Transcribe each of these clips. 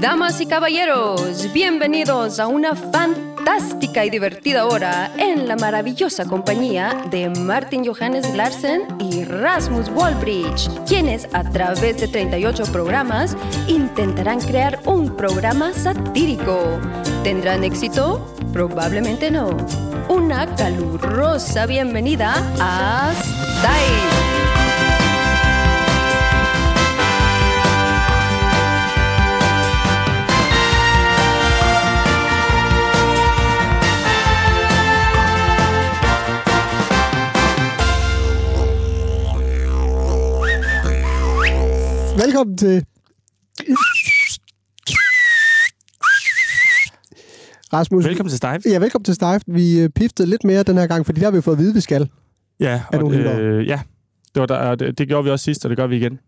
Damas y caballeros, bienvenidos a una fantástica y divertida hora en la maravillosa compañía de Martin Johannes Larsen y Rasmus Wallbridge, quienes a través de 38 programas intentarán crear un programa satírico. ¿Tendrán éxito? Probablemente no. Una calurosa bienvenida a Style. Velkommen til... Rasmus. Velkommen til Steife. Ja, velkommen til Stejf. Vi øh, piftede lidt mere den her gang, fordi der har vi fået at vide, vi skal. Ja, Er du og, hyldere? øh, ja. Det, var der, og det, det gjorde vi også sidst, og det gør vi igen.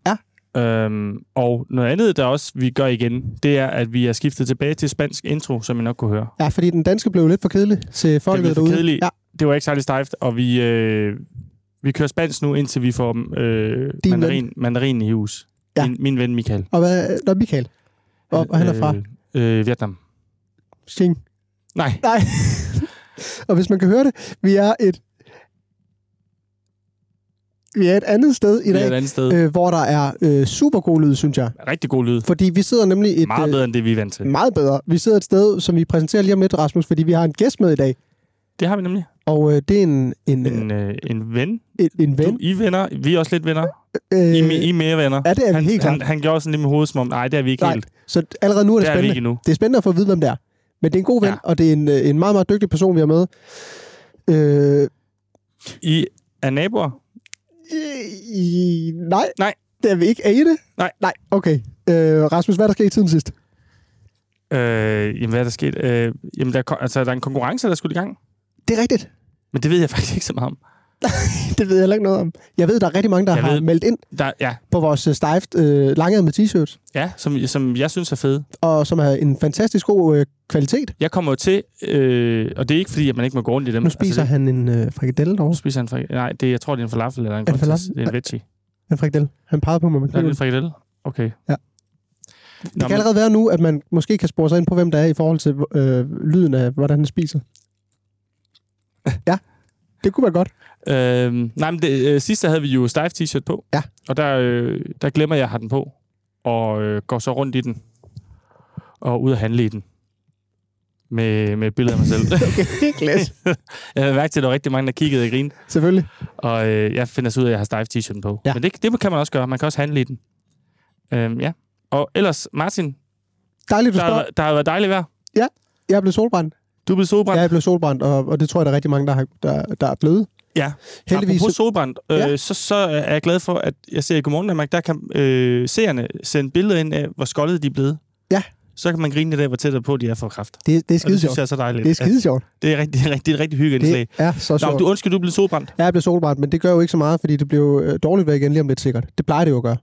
Ja. Øhm, og noget andet, der også vi gør igen, det er, at vi er skiftet tilbage til spansk intro, som I nok kunne høre. Ja, fordi den danske blev lidt for kedelig til folk blev for derude. kedelig. Ja, Det var ikke særlig stejft, og vi, øh, vi kører spansk nu, indtil vi får øh, Din mandarin, mandarin i hus. Ja. Min, min ven Michael. og hvad... Nå, Michael. Og, og han er fra Øh, øh, Vietnam. Xing. Nej, Nej. og hvis man kan høre det, vi er et... Vi er et andet sted i det er dag, et andet sted. Øh. øh, hvor der er øh, super god lyd, synes jeg. Rigtig god lyd. Fordi vi sidder nemlig et... Meget øh, bedre end det, vi er vant til. meget bedre. Vi sidder et sted, som vi præsenterer lige om lidt, Rasmus, fordi vi har en gæst med i dag. Det har vi nemlig. Og øh, det er en, en, en, En, øh, en ven. en, en ven. Du, I er venner. Vi er også lidt venner. Øh, I, er me- I er mere venner. ja, det er vi han, helt klart. han, han gjorde sådan lidt med hovedet, som om, nej, det er vi ikke Nej, helt. Så allerede nu er det, Det er vi spændende. ikke endnu. det er spændende at få at vide, hvem det er. Men det er en god ven, Ja. og det er en, øh, en meget, meget dygtig person, vi har med. Øh, I er naboer? i, nej, Nej. det er vi ikke. Er I det? Nej. Nej, okay. Øh, Rasmus, hvad er der sket i tiden sidst? Øh, jamen, hvad er der sket? Øh, jamen, der, er ko- altså, der er en konkurrence, der er skudt i gang. Det er rigtigt. Men det ved jeg faktisk ikke så meget om. Det ved jeg heller ikke noget om. Jeg ved, der er rigtig mange, der jeg Jeg har ved. ved- meldt ind Der, ja, på vores øh, stejft øh, lange med t-shirts, ja som, som jeg synes er fed. og som er en fantastisk god øh, kvalitet. Jeg kommer jo til, øh, og det er ikke fordi, at man ikke må gå rundt i dem. Nu spiser altså, altså, han en øh, frikadelle det, nu derovre. spiser han frikadelle. Nej, det, jeg tror, det er en falafel eller en det conchas. falafel? Det er en veggie. En frikadelle. Han pegede på mig med Nå, det er kniven. en frikadelle? Okay. Ja. Nå, Det men, kan allerede være nu, at man måske kan spore sig ind på, hvem der er i forhold til øh, lyden af, hvordan den spiser. ja, det kunne være godt. øh, nej, men det, øh, sidst der havde vi jo Steve t-shirt på. Ja. Og der, øh, der glemmer jeg at have den på. Og øh, går så rundt i den. Og ud og handle i den. Med, med et billede af mig selv. Glas. Jeg havde mærke til, at der var rigtig mange, der kiggede og grinede. Selvfølgelig. Og øh, jeg finder så ud af, at jeg har stejf t-shirten på. Ja. Ja. Men det, det kan man også gøre. Man kan også handle i den. Øhm, ja. Og ellers, Martin, Dejligt, du der, spørger. har- der har været dejligt vejr. Jeg er blevet solbrændt. Du er blevet solbrændt. Ja, jeg er blevet solbrændt, og, og det tror jeg, der er rigtig mange, der, har, der, der er blevet. Ja. Heldigvis. Apropos solbrændt, øh, Ja. så, så er jeg glad for, at jeg ser i Godmorgen Danmark, der kan øh, seerne sende billeder ind af, hvor skoldede de er blevet. Ja. Så kan man grine lidt af, hvor tættere på de er for kraft. Det, det er Og det skide synes sjovt. jeg er så dejligt. Det er Ja, skide sjovt. det er rigtig, det er rigtig, det er et rigtig hyggeindslag. Det er så Nå, sjovt. du undskyld, du blev solbrændt. Jeg er blevet solbrændt, men det gør jo ikke så meget, fordi det blev øh, dårligt vejr igen lige om lidt sikkert. Det plejer det jo at gøre.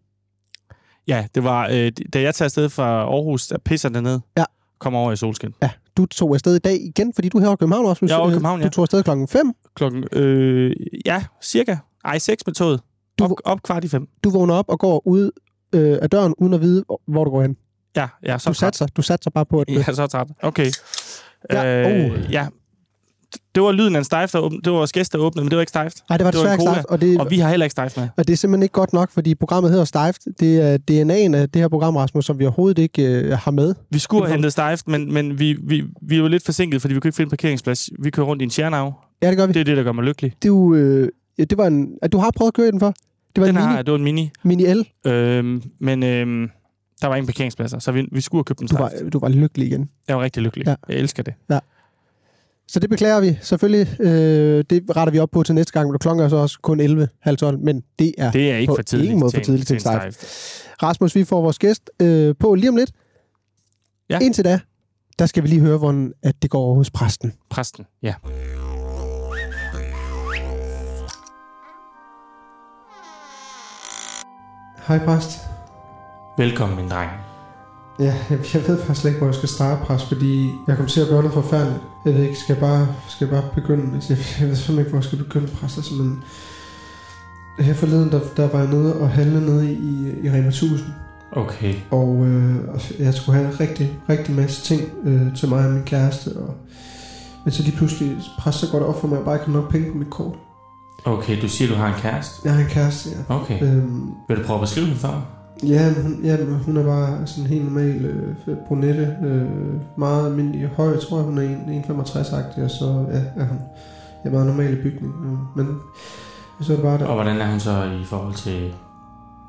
Ja, det var, øh, da jeg tager afsted fra Aarhus, der pisser det ned. Ja. Kommer over i solskin. Ja, du tog afsted i dag igen, fordi du er her i København, Rasmus. Jeg er over i Øh, København, ja. Du tog afsted klokken 5. Klokken, øh, ja, cirka. Ej, 6 med toget. Du- Op, op kvart i fem. Du vågner op og går ud øh, af døren, uden at vide, hvor- hvor du går hen. Ja, jeg er så Du træt. satser, du satser bare på, at... Jeg er så træt. Okay. Ja, Øh, oh. ja. Det var lyden af en stejf, der åbnede. Det var vores gæst, der åbnede, men det var ikke stejft. Nej, det var Det var desværre en ikke cola. stejft, og det, Og vi har heller ikke stejf med. og det er simpelthen ikke godt nok, fordi programmet hedder Stejft. Det er DNA'en af det her program, Rasmus, som vi overhovedet ikke øh, har med. Vi skulle have Velkommen. hentet stejft, men, men vi, vi, vi var lidt forsinket, fordi vi kunne ikke finde en parkeringsplads. Vi kører rundt i en tjernav. Ja, det gør vi. Det Det, er det, der gør mig lykkelig. det, er jo, øh, ja, det var en... ja, Du har prøvet at køre i den for? Det var Den en har mini, jeg. Det var en mini. mini L. Øhm, men øhm, der var ingen parkeringspladser, så vi, vi skulle have købt en Du stejft. var, du var lykkelig igen. Jeg var rigtig lykkelig. Ja. Ja. Jeg elsker det. Så det beklager vi. Selvfølgelig, øh, det retter vi op på til næste gang, men klokken er så også kun 11, halv 12, men det er... Det. Det er ikke på for tidligt ingen måde for en- tidligt til en en stejft. Rasmus, vi får vores gæst øh, på lige om lidt. Ja. Indtil da, der skal vi lige høre, hvordan at det går over hos præsten. Præsten, ja. Hej præst. Velkommen, min dreng. Ja, jeg, jeg ved faktisk slet ikke, hvor jeg skal starte, pres, fordi jeg kom til at gøre noget forfærdeligt. Jeg ved ikke, skal jeg bare, skal jeg bare begynde? Altså, jeg, jeg ved simpelthen ikke, hvor jeg skal begynde, pres. Altså, men her forleden, der, der var jeg nede og handle nede i, i Rema 1000. Okay. Og øh, og jeg skulle have rigtig, rigtig masse ting øh, til mig og min kæreste. Og, men så lige pludselig pres, så går det op for mig, at jeg bare ikke har nok penge på mit kort. Okay, du siger, du har en kæreste. Jeg har en kæreste, ja. Okay. Øhm, Vil du prøve at beskrive hende for mig? ja, men hun, ja, men hun er bare sådan en helt normal øh, brunette. Øh, meget almindelig høj, jeg tror, hun er en- 1,65-agtig. Og så ja, er hun ja, meget normal i bygning. Øh, men så er det bare der. Og hvordan er hun så i forhold til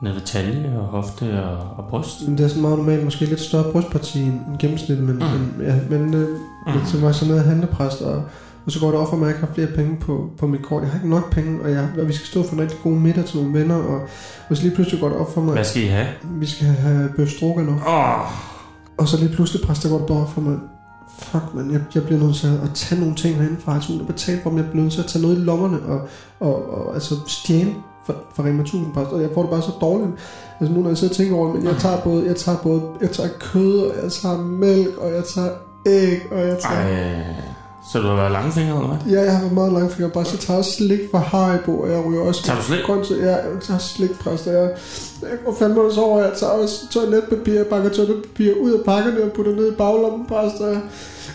nede ved talje og hofte og, og bryst? Men Det er sådan meget normalt, måske lidt større brystparti end end gennemsnittet, men, Mm. mm. men, ja, men øh, mm. så var jeg så nede og handlepræst, og, og så går det op for mig, at jeg ikke har flere penge på, på mit kort. Jeg har ikke nok penge, og, jeg, og vi skal stå for en rigtig god middag til nogle venner, og, og så lige pludselig går det op for mig, Hvad at skal I have? vi skal have bøf stroganoff. Åh, Og så lige pludselig præst, der går det bare op for mig, fuck man, jeg, jeg bliver nødt til at tage nogle ting herinde fra Arthur, og betale for dem, jeg bliver nødt til at tage noget i lommerne, og, og, og altså stjæle for, for Rema 1000 præst, og jeg får det bare så dårligt. Altså nu når jeg sidder og tænker over det, men jeg tager både, jeg tager både, jeg tager kød, og jeg tager mælk, og jeg tager æg, og jeg tager... ej. Øh, Så du har været langfingret, eller hvad? Ja, jeg har været meget langfinger, bare så tager jeg slik fra Haribo, og jeg ryger også Tager du slik? grønt, så jeg, jeg tager slikpræst, og jeg, jeg går fandme også over, jeg tager også toiletpapir, jeg pakker toiletpapir ud af pakkerne og putter ned i baglommen, præst, og jeg,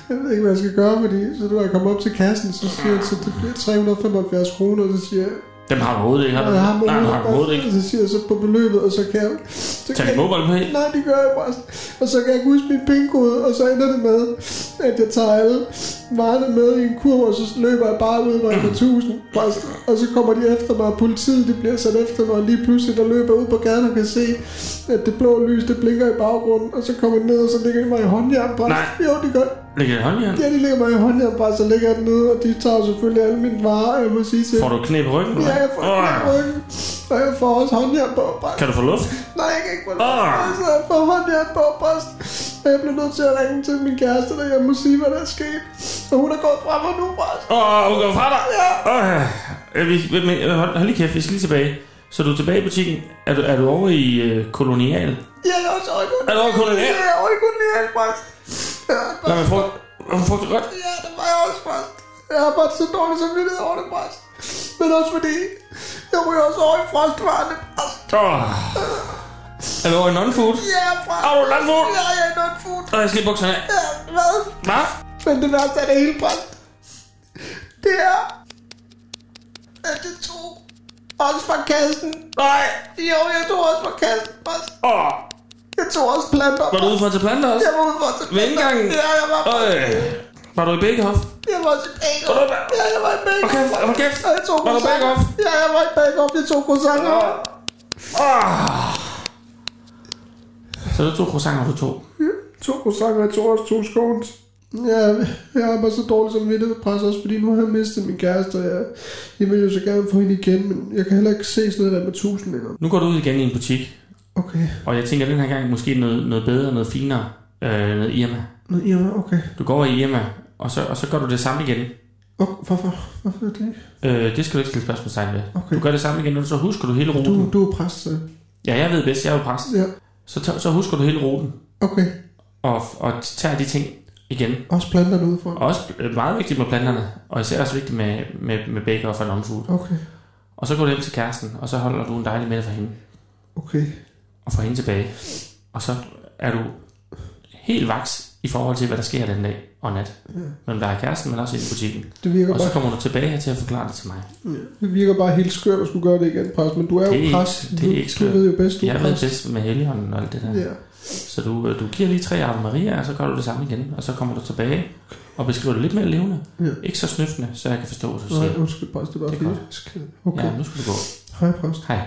jeg ved ikke, hvad jeg skal gøre, fordi så nu er jeg kommet op til kassen, så siger jeg, så det bliver 375 kroner, og så siger jeg, Dem har du overhovedet ikke, har du? jeg har Nej, du har du overhovedet ikke. og så siger jeg så på beløbet, og så kan jeg, så Tag kan din jeg, mobile pay. Nej, det gør jeg præst. Og så kan jeg ikke huske min pindkode, og så ender det med, at jeg tager alle varerne med i en kurv, og så løber jeg bare ud med på 1000 præst. Og så kommer de efter mig, og politiet de bliver sat efter mig, og lige pludselig der løber jeg ud på gaden og kan se, at det blå lys det blinker i baggrunden, og så kommer de ned, og så ligger de mig i håndjern præst. Nej. Jo, det gør Lægger det i håndjern? Ja, de ligger mig i håndjern præst, og ligger jeg den nede, og de tager selvfølgelig alle mine varer, og jeg må sige til Får du knæ på ryggen? eller Ja, hvad? jeg får Åh, oh. ryggen, og jeg får også håndjern på præst. Kan du få luft? Nej, jeg kan ikke få det. Ah. Altså, jeg får håndjern på bryst. Og jeg bliver nødt til at ringe til min kæreste, der jeg må sige, hvad der er sket. Og hun er gået fra mig nu, altså. bryst. Åh, hun går fra dig. Åh, ja, vi, men, hold, hold lige kæft, vi skal lige tilbage. Så du er tilbage i butikken. Er du, er du over i øh, kolonial? Jeg er også øjekund. Er du over i kolonial? Jeg er øjekund lige alt, bryst. Jeg er Lad bare... mig få... Hun får det godt. Ja, det var jeg også, bryst. Jeg har bare så dårlig samvittighed over det, bryst. Men også fordi, jeg ryger også over i Altså, frostvarende, bryst. Åh. Er du over i non-food? Ja, bryst. Er du non-food? Ja, jeg er not food. Åh, jeg skal lige bukserne af. Ja, hvad? Hvad? Men det værste af det hele, Brand, det er, at det tog også fra kassen. Nej. Jo, jeg tog også fra kassen, Brand. Åh. Jeg tog også planter. Var du ude for at tage planter også? Jeg var ude for at tage Ved planter. indgangen? Ja, jeg var, Øj. Var du i Bækkehof? jeg var også i bake-off. Var du der? Ja, jeg var i bake-off. Okay, hold kæft. Og jeg tog Var du croissanter. bake-off? Ja, jeg var i bake-off. Jeg tog croissanter. Åh. Så der er to croissanter, du tog. To croissanter, jeg tog også to scones. Ja, jeg har bare så dårlig som pres også, fordi nu har jeg mistet min kæreste, og jeg, jeg vil jo så gerne få hende igen, men jeg kan heller ikke se sådan noget der med tusind længere. Nu går du ud igen i en butik, Okay, og jeg tænker den her gang måske noget, noget bedre, noget finere. Øh, noget Irma. Nå, ja, okay. Du går over i Irma, og så, og så gør du det samme igen. Og hvorfor? Hvorfor er det? Øh, det skal du ikke stille spørgsmålstegn ved. Okay. Du gør det samme igen, og så husker du hele Du, ruten. du er præst, så. Ja, jeg ved bedst, jeg er jo præst. Ja, Så, t- så husker du hele ruten, okay. og, og tager de ting igen. Også planterne udefra. Og også øh, meget vigtigt med planterne, og især også vigtigt med, med, med bacon og non food. Okay, Og så går du hjem til kæresten, og så holder du en dejlig middag for hende, okay. og får hende tilbage. Og så er du helt vaks i forhold til, hvad der sker den dag og nat. Mellem dig og kæresten, men også i butikken. Det virker, Og så bare, kommer du tilbage her til at forklare det til mig. ja. Mm. det virker bare helt skørt at skulle gøre det igen, præst. Men du er jo Det er ikke- præst. det er du, ikke du skørt. ved jo bedst, du er Jeg ved præst. bedst med helgen og alt det der. Ja. Så du, du giver lige tre Ave Maria, og så gør du det samme igen, og så kommer du tilbage og beskriver det lidt mere levende. Ja. Ikke så snøftende, så jeg kan forstå, hvad du Nej, siger. undskyld, præst. Det var Det er fint. Skide. Okay. Ja, nu skal du gå. Hej, præst. Hej.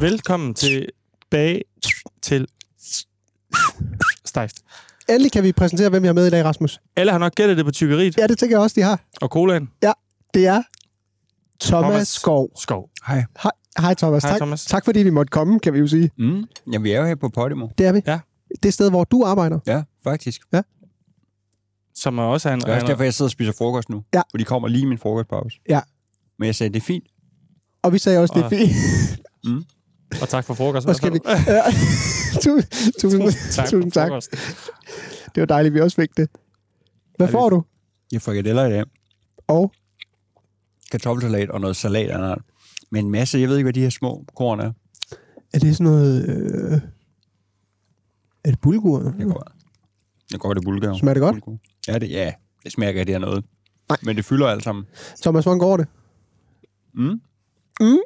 Velkommen tilbage til Stejft. Endelig kan vi præsentere, hvem jeg har med i dag, Rasmus. Alle har nok gættet det på tykkeriet Ja, det tænker jeg også, de har. og colaen. Det er Thomas, Thomas. Skov. Skov. Hej. Hej, hej Thomas. Hej, tak, Thomas. tak fordi vi måtte komme, kan vi jo sige. Mm. Ja, vi er jo her på Podimo. Det er vi. Ja. Det sted, hvor du arbejder. Ja, faktisk. Som er også er en... Det er også derfor, jeg sidder og spiser frokost nu. Ja. For de kommer lige i min frokostpause. Ja. Men jeg sagde, det er fint. Og vi sagde også, det er Og- fint. Og tak for frokost. Og skal vi... Ja. tusind, tusind, tak, for tusind tak. frokost. Det var dejligt, vi også fik det. Hvad Ja, får vi- du? Jeg får frikadeller i dag. Og? Kartoffelsalat og noget salat af en art. Men en masse, jeg ved ikke, hvad de her små korn er. Er det sådan noget... Øh, er det bulgur? Jeg går, jeg går det bulgar. Smager det godt? Bulgur. Ja, det, ja, det smager ikke af det her noget. Nej. Men det fylder alt sammen. Thomas, hvordan går det? Mm. Mm.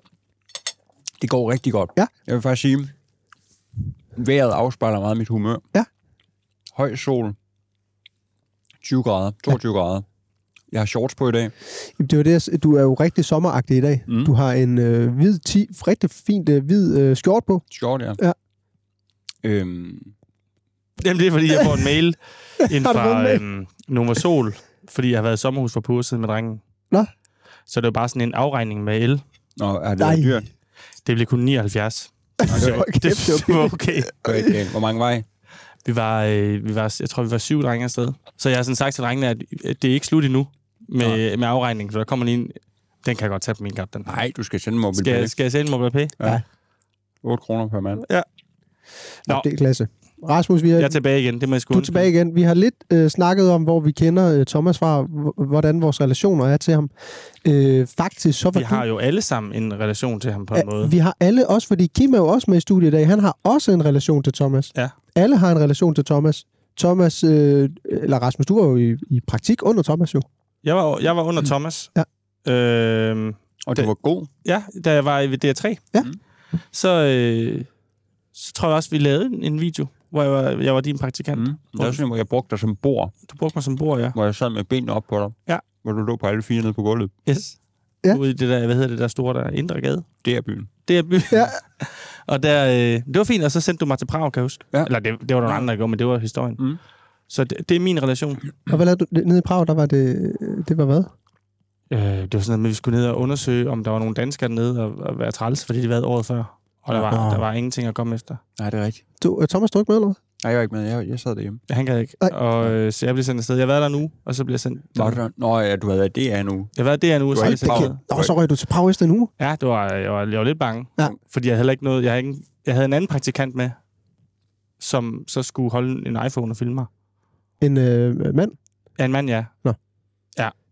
Det går rigtig godt. Ja. Jeg vil faktisk sige, vejret afspejler meget mit humør. Ja. Høj sol. 20 grader. 22 ja. grader. Jeg har shorts på i dag. Jamen, det var det, jeg s- du er jo rigtig sommeragtig i dag. Mm. Du har en øh, hvid ti, rigtig fint øh, hvid øh, skjort på. Short, ja. Ja. Øhm, Jamen, det er, fordi jeg får en mail ind Har du fået en fra mail? øhm, Nova Sol, fordi jeg har været i sommerhus for på siden med drengen. Nå. Så det var bare sådan en afregning med el. nå, er det Nej. dyrt? Det blev kun 79. Okay. Hold kæft, det var det var okay. Okay. okay. Hvor mange var I? Vi var, øh, vi var, jeg tror, vi var syv drenge afsted. Så jeg har sådan sagt til drengene, at det er ikke slut endnu med, med afregningen, for der kommer lige en... Den kan jeg godt tage på min kap, den. her. Nej, du skal sende mig Skal, jeg- mobil. skal jeg sælge mobile pay? 8 kroner per mand. Nå. Det er klasse. Rasmus, vi har, Jeg er tilbage igen, det må jeg sgu du er undskylde. tilbage igen. Vi har lidt øh, snakket om, hvor vi kender øh, Thomas fra, h- hvordan vores relationer er til ham. Øh, faktisk, så var Vi har jo alle sammen en relation til ham på en Ja, måde. Vi har alle også, fordi Kim er jo også med i studiet i dag. Han har også en relation til Thomas. Ja. Alle har en relation til Thomas. Thomas, øh, eller Rasmus, du var jo i, i praktik under Thomas jo. Jeg var, jeg var under Thomas. Ja. Øhm, Og det Mm. Det- var god. ja, da jeg var i DR3. Ja. Så, øh, så tror jeg også, vi lavede en, en video, hvor jeg var, jeg var din praktikant. Mm. Mm. Det er også sådan, hvor jeg brugte dig som bord, Du brugte mig som bord, ja. hvor jeg sad med benene op på dig. Ja. Hvor du lå på alle fire nede på gulvet. Yes. Ja. Ude i det der, hvad hedder det der store der, Indre Gade? Det er byen. Det er by. Ja. og der, øh, det var fint, og så sendte du mig til Prag, kan jeg huske. Ja. Eller det, det var der nogle andre, der gjorde, men det var historien. Mm. Så det, det er min relation. Og hvad lavede du nede i Prag? Der var det, det var hvad? Øh, det var sådan noget med, at vi skulle ned og undersøge, om der var nogle danskere nede og, og være træls, fordi de var året før. Og der var, Nå. der var ingenting at komme efter. Nej, det er rigtigt. Du, øh, Thomas, du er ikke med, eller hvad? Nej, jeg var ikke med. Jeg, jeg sad derhjemme. Han gad ikke. Nej. Og, øh, så jeg blev sendt afsted. Jeg har været der nu, og så blev jeg sendt. Var du der? Nå, ja, du havde været i DR nu. Jeg har været der nu, og Du så blev var jeg ikke sendt Prag. afsted. Nå, så røg du til Prag efter en uge. Ja, det var, jeg, var, jeg var lidt bange. Ja. Fordi jeg havde heller ikke noget... Jeg havde, ikke, jeg havde en anden praktikant med, som så skulle holde en iPhone og filme mig. En øh, mand? Ja, en mand, ja.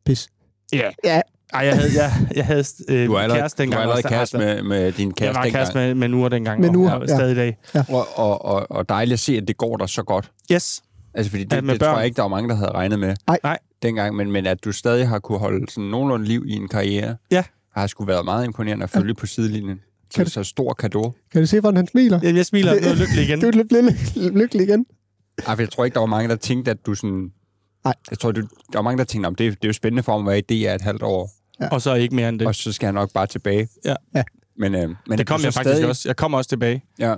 Pis. Ja. Ja. Ej, jeg havde, jeg, jeg havde øh, Du var allerede, kæreste dengang. du var allerede og så- kæreste med, med din kæreste. Jeg var dengang. kæreste med, med Nure dengang, Med med Nure, Nure, og jeg er stadig i dag. Og, og, og, og dejligt at se, at det går dig så godt. Yes, Altså, fordi det, Ja, ja, med det tror børn. jeg ikke, der var mange, der havde regnet med Nej. Nej. dengang, men, men at du stadig har kunne holde sådan nogenlunde liv i en karriere, Ja. har sgu været meget imponerende at følge på sidelinjen. Så Kan det er så stor gave. Kan du se, hvordan han smiler? jeg, jeg smiler og Det- er lykkelig igen. Du er lidt lykkelig- lykkelig igen. Ej, for jeg tror ikke, der var mange, der tænkte, at du sådan... Nej. Jeg tror, du, der var mange, der tænkte, om det, det er jo spændende for ham at være i DR et halvt år, Og så ikke mere end det. og så skal han nok bare tilbage. Ja. Ja. Men, øh, men at Det du kom så jeg faktisk stadig- også. Jeg kom også tilbage. Ja.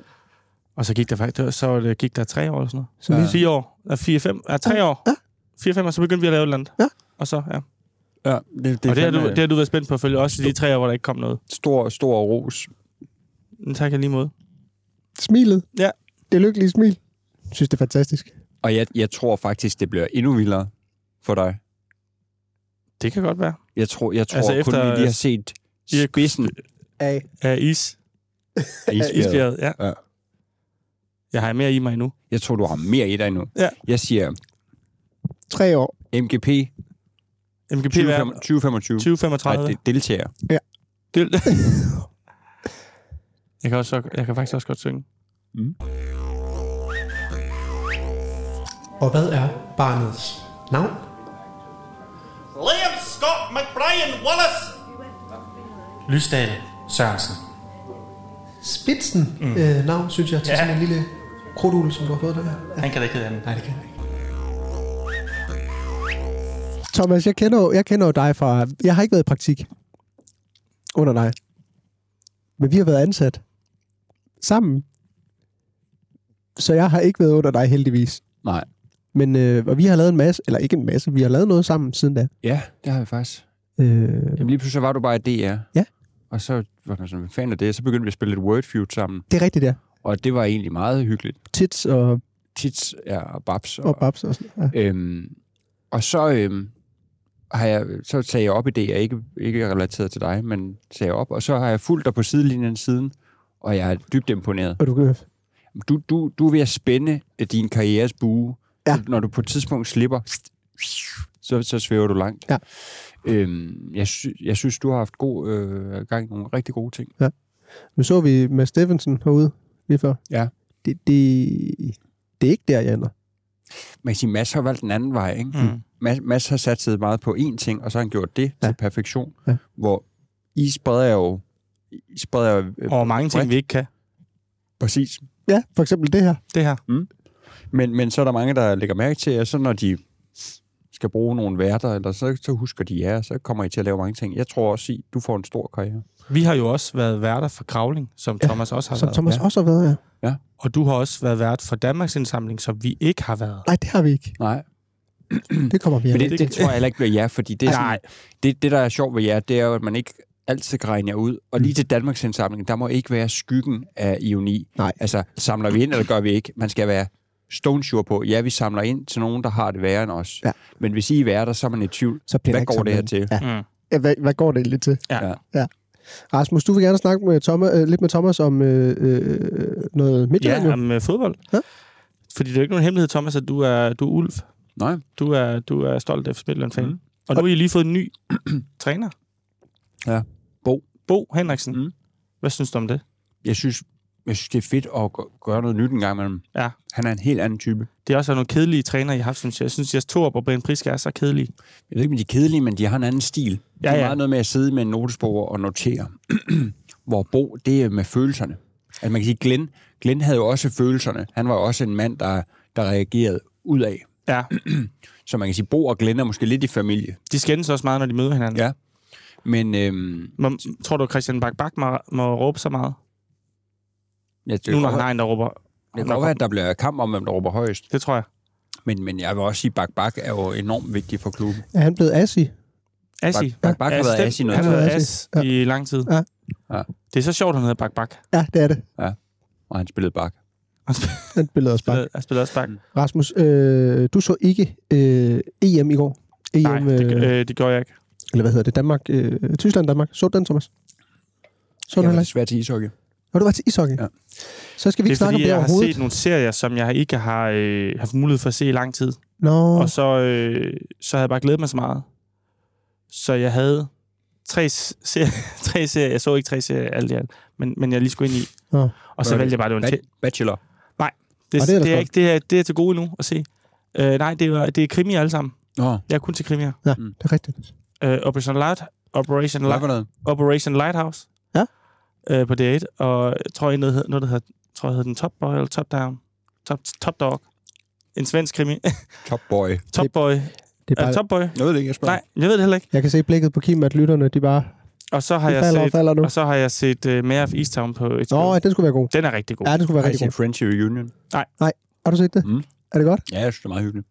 Og så gik der faktisk, det var- så var det, gik der tre år eller sådan noget. Så Ja. lige, Fire år. Ja, fire, fem. Ja, tre år. Ja. Fire, fem, og så begyndte vi at lave et eller andet. Ja. Og så, ja. ja det, det, Det og det har, er du, fandme det har du været spændt på at følge, også i de tre år, hvor der ikke kom noget. stor, stor ros. Men tak jeg lige måde. smilet. Ja. Det lykkelige smil. Jeg synes, det er fantastisk. Og jeg, jeg tror faktisk, det bliver endnu vildere for dig. Det kan godt være. Jeg tror, jeg tror Altså altså kun, efter- efter, vi lige har set I har- spidsen Af. Ja, is. af isbjerget. Isbjerget, ja. Ja. Jeg har mere i mig endnu. Jeg tror, du har mere i dig nu. Ja. Jeg siger Tre år. MGP MGP 20, hver 2025. 2035. Nej, det er deltager. Det... jeg, kan også, jeg kan faktisk også godt synge. Og hvad er barnets navn? Liam Scott McBrien Wallace Lysdal Sørensen. Spidsen mm. øh, navn, synes jeg, til ja. Ja. sådan en lille krudtugle, som du har fået der. Ja. Han kan da ikke hedde andet. Nej, det kan jeg ikke. Thomas, jeg kender, jo, jeg kender jo dig fra... Jeg har ikke været i praktik under dig. Men vi har været ansat sammen. Så jeg har ikke været under dig, heldigvis. Nej. Men øh, og vi har lavet en masse, eller ikke en masse, vi har lavet noget sammen siden da. Ja, det har vi faktisk. Øh, Jamen, lige pludselig var du bare i DR. Ja. Og så var man sådan, hvad fanden er det? Så begyndte vi at spille lidt Word Feud sammen. det er rigtigt der. Og det var egentlig meget hyggeligt. Tits og, Tits ja, og babs. og babs og sådan. Ja. Øhm, og så, øhm, har jeg, så sagde jeg op i det, jeg ikke, ikke relateret til dig, men sagde jeg op. Og så har jeg fulgt dig på sidelinjen siden, og jeg er dybt imponeret. Og du kan Du, du, du er ved at spænde din karrieres bue. Ja. Ja. Når du på et tidspunkt slipper, så, så svæver du langt. Ja. Øhm, jeg, sy- jeg synes, du har haft god øh, gang i nogle rigtig gode ting. Nu så vi med Steffensen herude lige før. Ja. Det, det, det er ikke der, jeg ender. Man kan sige, Mads har valgt en anden vej, ikke? Mm. Mads, Mads har sat sig meget på én ting, og så har han gjort det ja. Ja. til perfektion, Ja. ja. hvor I spreder jo, I spreder jo øh, Og mange ting, vi ikke kan. præcis. Ja, for eksempel det her. Det her. Men, men så er der mange, der lægger mærke til, at så når de skal bruge nogle værter, eller så, så husker de jer, så kommer I til at lave mange ting. Jeg tror også, I, du får en stor karriere. Vi har jo også været værter for Kravling, som ja, Thomas også har Som været. Thomas Ja. også har været her. Og du har også været vært for Danmarks Indsamling, som vi ikke har været. Nej, det har vi ikke. Nej, Mm. Det kommer vi men af. det, det tror jeg heller ikke bliver jer, fordi det, er sådan, Nej. det, det, der er sjovt ved jer, det er jo, at man ikke altid kan regne jer ud. Og lige til Danmarks indsamling, der må ikke være skyggen af ironi. Nej. Altså, samler vi ind, eller gør vi ikke? Man skal være stone sure på, ja, vi samler ind til nogen, der har det værre end os. Ja. Men hvis I er værter, så er man i tvivl. Så bliver der Hvad ikke går det her samlet. til? Ja. Mm. Ja, hvad, hvad går det egentlig til? Ja. Ja. ja. Rasmus, du vil gerne snakke med Thomas, øh, lidt med Thomas om øh, øh, noget Midtjylland. Ja, Ja, om øh, fodbold. Ja. Fordi det er jo ikke nogen hemmelighed, Thomas, at du er, du er ulv. Nej. Du er, du er stolt af Midtjylland fan. Mm. Mm. Og nu har I lige fået en ny træner. Ja. Bo. Bo Henriksen. Mm. Mm. Hvad synes du om det? Jeg synes, jeg synes, det er fedt at gø- gøre noget nyt en gang imellem. Ja. Han er en helt anden type. Det har også været nogle kedelige træner, I har haft, synes jeg. Jeg synes, at Torup og Brian Priske er så kedelige. Jeg ved ikke, om de er kedelige, men de har en anden stil. Ja, Ja, det er ja. ja. meget noget med at sidde med en notesbog og notere. Hvor Bo, det er med følelserne. Altså man kan sige, Glenn, Glenn havde jo også følelserne. Han var jo også en mand, der, der reagerede ud af. Ja. Så man kan sige, Bo og Glenn er måske lidt i familie. De skændes også meget, når de møder hinanden. Ja. Men øhm, Må, tror du, at Christian Bak Bak må, må råbe så meget? jeg, det, Nu, kan når godt, han være- har en, der råber. det kan Nå, godt være, at der bliver kamp om, hvem der råber højest. Det tror jeg. Men, men jeg vil også sige, at Bak Bak er jo enormt vigtig for klubben. er han blevet assi? Assi. Bak- Bak Bak har været den- Assi noget Han har tid. været Assi. As Ja. i lang tid. Ja. Ja. Det er så sjovt, han hedder Bak Bak. Ja, det er det. Og han spillede Bak. Han spillede også bare. Han spiller også Bak. Rasmus, øh, du så ikke øh, EM i går. EM, Nej, det, øh, øh, det gør jeg ikke. eller hvad hedder det? Danmark, øh, Tyskland, Danmark. Så du den, Thomas? Så du Jeg den var heller ikke? svært til ishockey. Når du var til ishockey? Ja. Så skal vi Det er ikke snakke om fordi, det jeg har overhovedet. set nogle serier, som jeg ikke har øh, haft mulighed for at se i lang tid. Nå, Og så, øh, så havde jeg bare glædet mig så meget. Så jeg havde tre, s- serier, tre serier. Jeg så ikke tre serier alt i alt, men, men jeg lige skulle ind i. Nå. Og så Hvad er valgte jeg bare, det var en Ba- tæ- Bachelor. det, Og det, det er det, ellers det, er godt. ikke, det, er, det er til gode nu at se. Øh, nej, det er, det er krimier alle sammen. Nå, Jeg er kun til krimier. ja, Mm. det er rigtigt. Øh, Operation Light, Operation, hvad Light, for noget? Operation Lighthouse Ja. øh, på D8, og jeg tror, jeg noget, hed- noget der hedder, tror, jeg hedder den Top Boy eller Top Down. Top, top Dog. En svensk krimi. Top boy. top Boy. Det er Er bare, det Top Boy? Noget det ikke, jeg spørger. Nej, jeg ved det heller ikke. jeg kan se blikket på Kim, at lytterne, de bare Og så har de jeg falder og set, falder nu. og så har jeg set uh, Mayor of Easttown på HBO. Nå, ja, den skulle være god. Den er rigtig god. Ja, den skulle være Har I rigtig god. set Friends Reunion? Har du set det? Mm. Er det godt? Ja, jeg synes, det er meget hyggeligt.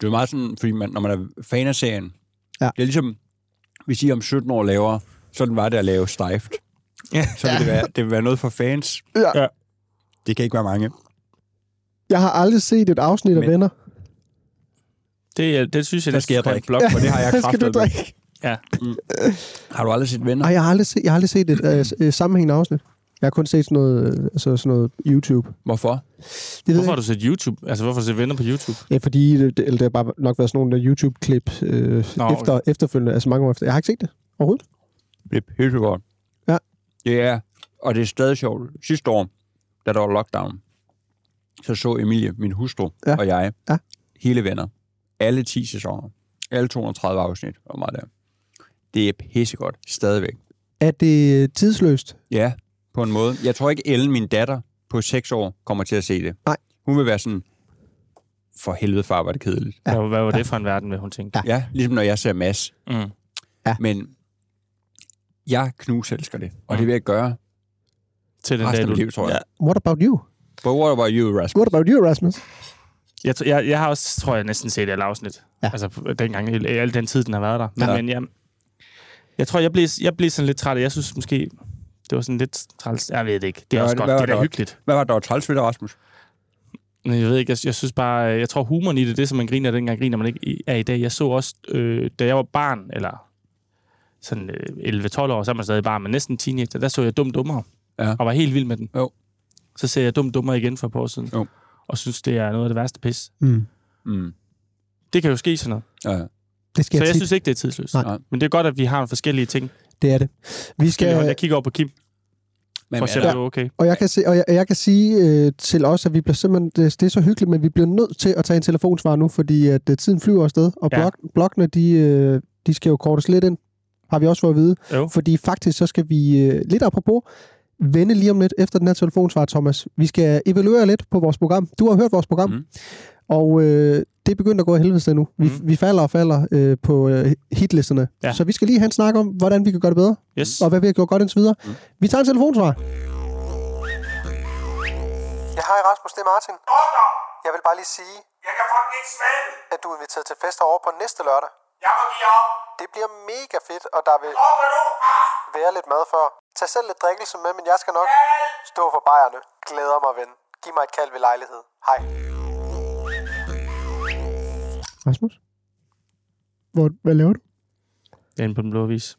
Det er meget sådan, fordi man, når man er fan af serien, Ja. det er ligesom, hvis I om 17 år laver, sådan var det at lave Stift. Ja. Så vil det, være, det vil være noget for fans. Ja. Ja. Det kan ikke være mange. Jeg har aldrig set et afsnit af Men- Venner. Det, er- det synes jeg, Der det skal jeg skal en drikke. blog for det. har jeg Hvad skal du kraftet med. drikke? Har du aldrig set venner? Nej, jeg har aldrig set, jeg har aldrig set et øh, øh, sammenhængende afsnit. Jeg har kun set sådan noget, øh, altså sådan noget YouTube. Hvorfor? Det ved Hvorfor har jeg du set YouTube? Altså, hvorfor har du set venner på YouTube? ikke. Ja, fordi øh, det, det, eller det har bare nok været sådan nogle der YouTube-klip øh, Nå, efter, efterfølgende, altså mange år efter. Jeg har ikke set det overhovedet. Det er pissegodt. Ja. Det er, og det er stadig sjovt. Sidste år, da der var lockdown, så så Emilie, min hustru Ja. og jeg, Ja. hele venner, alle 10 sæsoner, alle 230 afsnit, og meget der. Det er pissegodt, stadigvæk. Er det øh, tidsløst? Ja, på en måde. Jeg tror ikke, Ellen, min datter på 6 år, kommer til at se det. Nej. Hun vil være sådan, for helvede far, var det kedeligt. Ja. Hvad, hvad var det for en verden, vil hun tænke? Ja. Ja, ligesom når jeg ser Mads. Mm. Men jeg knuselsker det, og det vil jeg gøre Til den Mm. dag, resten af du... mit liv, tror jeg. What about you? But what about you, Rasmus? What about you, Rasmus? Jeg, tr- jeg, jeg har også, tror jeg, næsten set alle afsnit. Ja. Ja. Altså, på- dengang, i al den tid, den har været der. Men, ja. Ja. men jeg, jeg tror, jeg blev, jeg blev sådan lidt træt. og Jeg synes måske, det var sådan lidt træls. Jeg ved det ikke. Det er Hvad også var- godt. hvad Det var er da der- hyggeligt. Hvad var der var træls ved det, Rasmus? Men jeg ved ikke, jeg, jeg synes bare, øh, jeg tror humoren i det, det er, som man griner dengang, griner man ikke i- af i dag. Jeg så også, øh, da jeg var barn, eller sådan øh, 11-12 år, så er man stadig barn, men næsten teenager, der så jeg Dum Dummere, Ja. og var helt vild med den. Jo. Så ser jeg Dum Dummere igen for et par år siden, Jo. og synes, det er noget af det værste pis. Mm. Mm. Det kan jo ske sådan noget. Ja. Det skal Så jeg jeg, synes ikke, det er tidsløst. Nej. Nej. Men det er godt, at vi har nogle forskellige ting. det er det. Vi Skal jeg, jeg skal, kigger over på Kim, Men, for at se, om er det der, er okay. og jeg kan, se, og jeg, jeg kan sige øh, til os, at vi bliver simpelthen, det, det er så hyggeligt, men vi bliver nødt til at tage en telefonsvar nu, fordi at, øh, tiden flyver afsted, og Ja. blok, blokkene, de, øh, de skal jo kortes lidt ind, har vi også fået at vide. Jo. Fordi faktisk, så skal vi øh, lidt apropos vende lige om lidt efter den her telefonsvar, Thomas. Vi skal evaluere lidt på vores program. Du har hørt vores program, Mhm. mm. Mm. og øh, det er begyndt at gå af helvede til nu. Vi, mm. vi falder og falder øh, på øh, hitlisterne. Ja. Mhm. Ja. Så vi skal lige have en snak om, hvordan vi kan gøre det bedre, Yes. og hvad vi har gjort godt indtil videre. Mm. Vi tager en telefonsvar. Ja, hej Rasmus, det er Martin. Kom nu! Jeg vil bare lige sige, Jeg kan fucking ikke smage den. at du er inviteret til fest over på næste lørdag. Jeg må give op. Det bliver mega fedt, og der vil Kom nu! Ah, være lidt mad før. Tag selv lidt drikkelse med, men jeg skal nok stå for bajerne. Glæder mig, ven. Giv mig et kald ved lejlighed. Hej. Rasmus? Hvor, hvad laver du? Det er inde på den blå avis.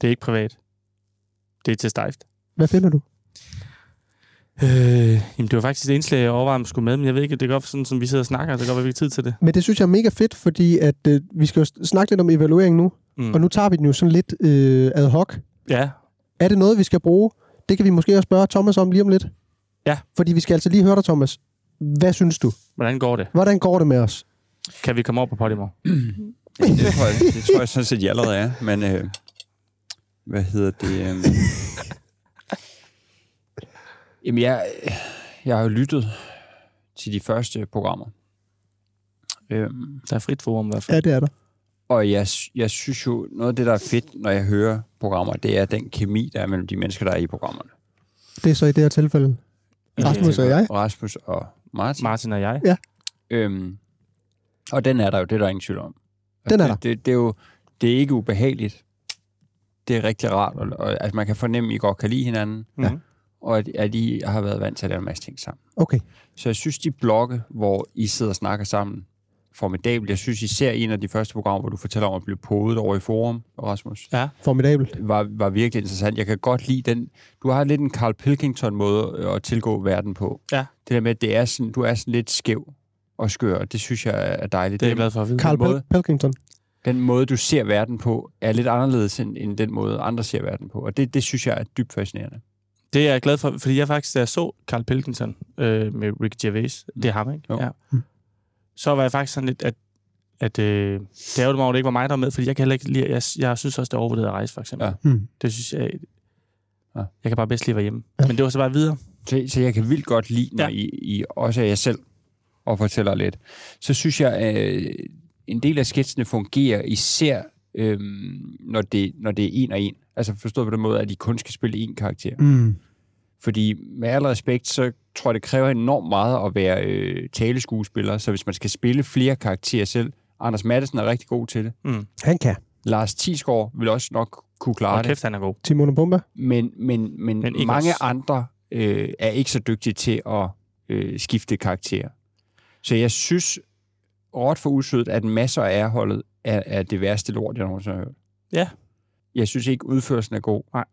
Det er ikke privat. Det er til stejft. Hvad finder du? Øh, jamen, det var faktisk et indslag, jeg overvejede, om jeg skulle med, men jeg ved ikke, det går sådan, som vi sidder og snakker, så det går, at vi ikke har tid til det. Men det synes jeg er mega fedt, fordi at, øh, vi skal jo s- snakke lidt om evaluering nu, mm. Mm. og nu tager vi den jo sådan lidt øh, ad hoc. Ja, Er det noget, vi skal bruge? Det kan vi måske også spørge Thomas om lige om lidt. Ja. Fordi vi skal altså lige høre dig, Thomas. Hvad synes du? hvordan går det? Hvordan går det med os? Kan vi komme over på Podimo? det, tror jeg, det tror jeg sådan set, jeg allerede er. Men øh, hvad hedder det? Øh... Jamen, jeg, jeg har jo lyttet til de første programmer. Øhm, Der er frit forum i hvert fald. Ja, det er der. Og jeg, sy- jeg synes jo, noget af det, der er fedt, når jeg hører programmer, det er den kemi, der er mellem de mennesker, der er i programmerne. Det er så i det her tilfælde. Rasmus og jeg. Rasmus og Martin. Martin og jeg. Øhm, og den er der jo, det er der ingen tvivl om. Og Den er det, Det, det, er jo det er ikke ubehageligt. Det er rigtig rart, og, og altså, man kan fornemme, at I godt kan lide hinanden, Mhm. ja. og at, at I har været vant til at lave en masse ting sammen. Okay. Så jeg synes, de blokke, hvor I sidder og snakker sammen, formidabelt. Jeg synes især en af de første programmer, hvor du fortæller om at blive podet over i forum, Rasmus. Formidabel. var, var virkelig interessant. Jeg kan godt lide den. Du har lidt en Carl Pilkington-måde øh, at tilgå verden på. Ja. Det der med, at det er sådan, du er sådan lidt skæv og skør, og det synes jeg er dejligt. Det er jeg den, glad for at vide. Carl måde. Pel- Pelkington. den måde, du ser verden på, er lidt anderledes end, end den måde, andre ser verden på. Og det, det synes jeg er dybt fascinerende. Det er jeg glad for, fordi jeg faktisk, da jeg så Carl Pilkington øh, med Ricky Gervais, det er ham, ikke? Mm. Jo. Ja. Mm. Så var jeg faktisk sådan lidt, at, at øh, det er jo mig, over, at det ikke var mig, der var med, fordi jeg kan heller ikke lide, jeg, jeg synes også, det er overvurderet at rejse, for eksempel. Ja. Hmm. Det synes jeg, Ja. jeg kan bare bedst lide at være hjemme. Men det var så bare videre. Så, så jeg kan vildt godt lide, når Ja. ja. I, I også er jer selv og fortæller lidt. Så synes jeg, øh, en del af sketsene fungerer især, øh, når, det, når det er en og en. Altså forstået på den måde, at I kun skal spille én karakter. Mm. Fordi med al respekt, så tror jeg, det kræver enormt meget at være øh, taleskuespiller. Så hvis man skal spille flere karakterer selv, Anders Madsen er rigtig god til det. Han kan. Lars Tisgaard vil også nok kunne klare Og det. kæft, han er god. Timon og Pumba. Men, men, men, Men men ikke mange os. også. andre øh, er ikke så dygtige til at øh, skifte karakter. Så jeg synes råt for usødt, at masser af holdet er, er det værste lort, jeg nogensinde har hørt. Ja. Jeg synes ikke, udførelsen er god. Nej.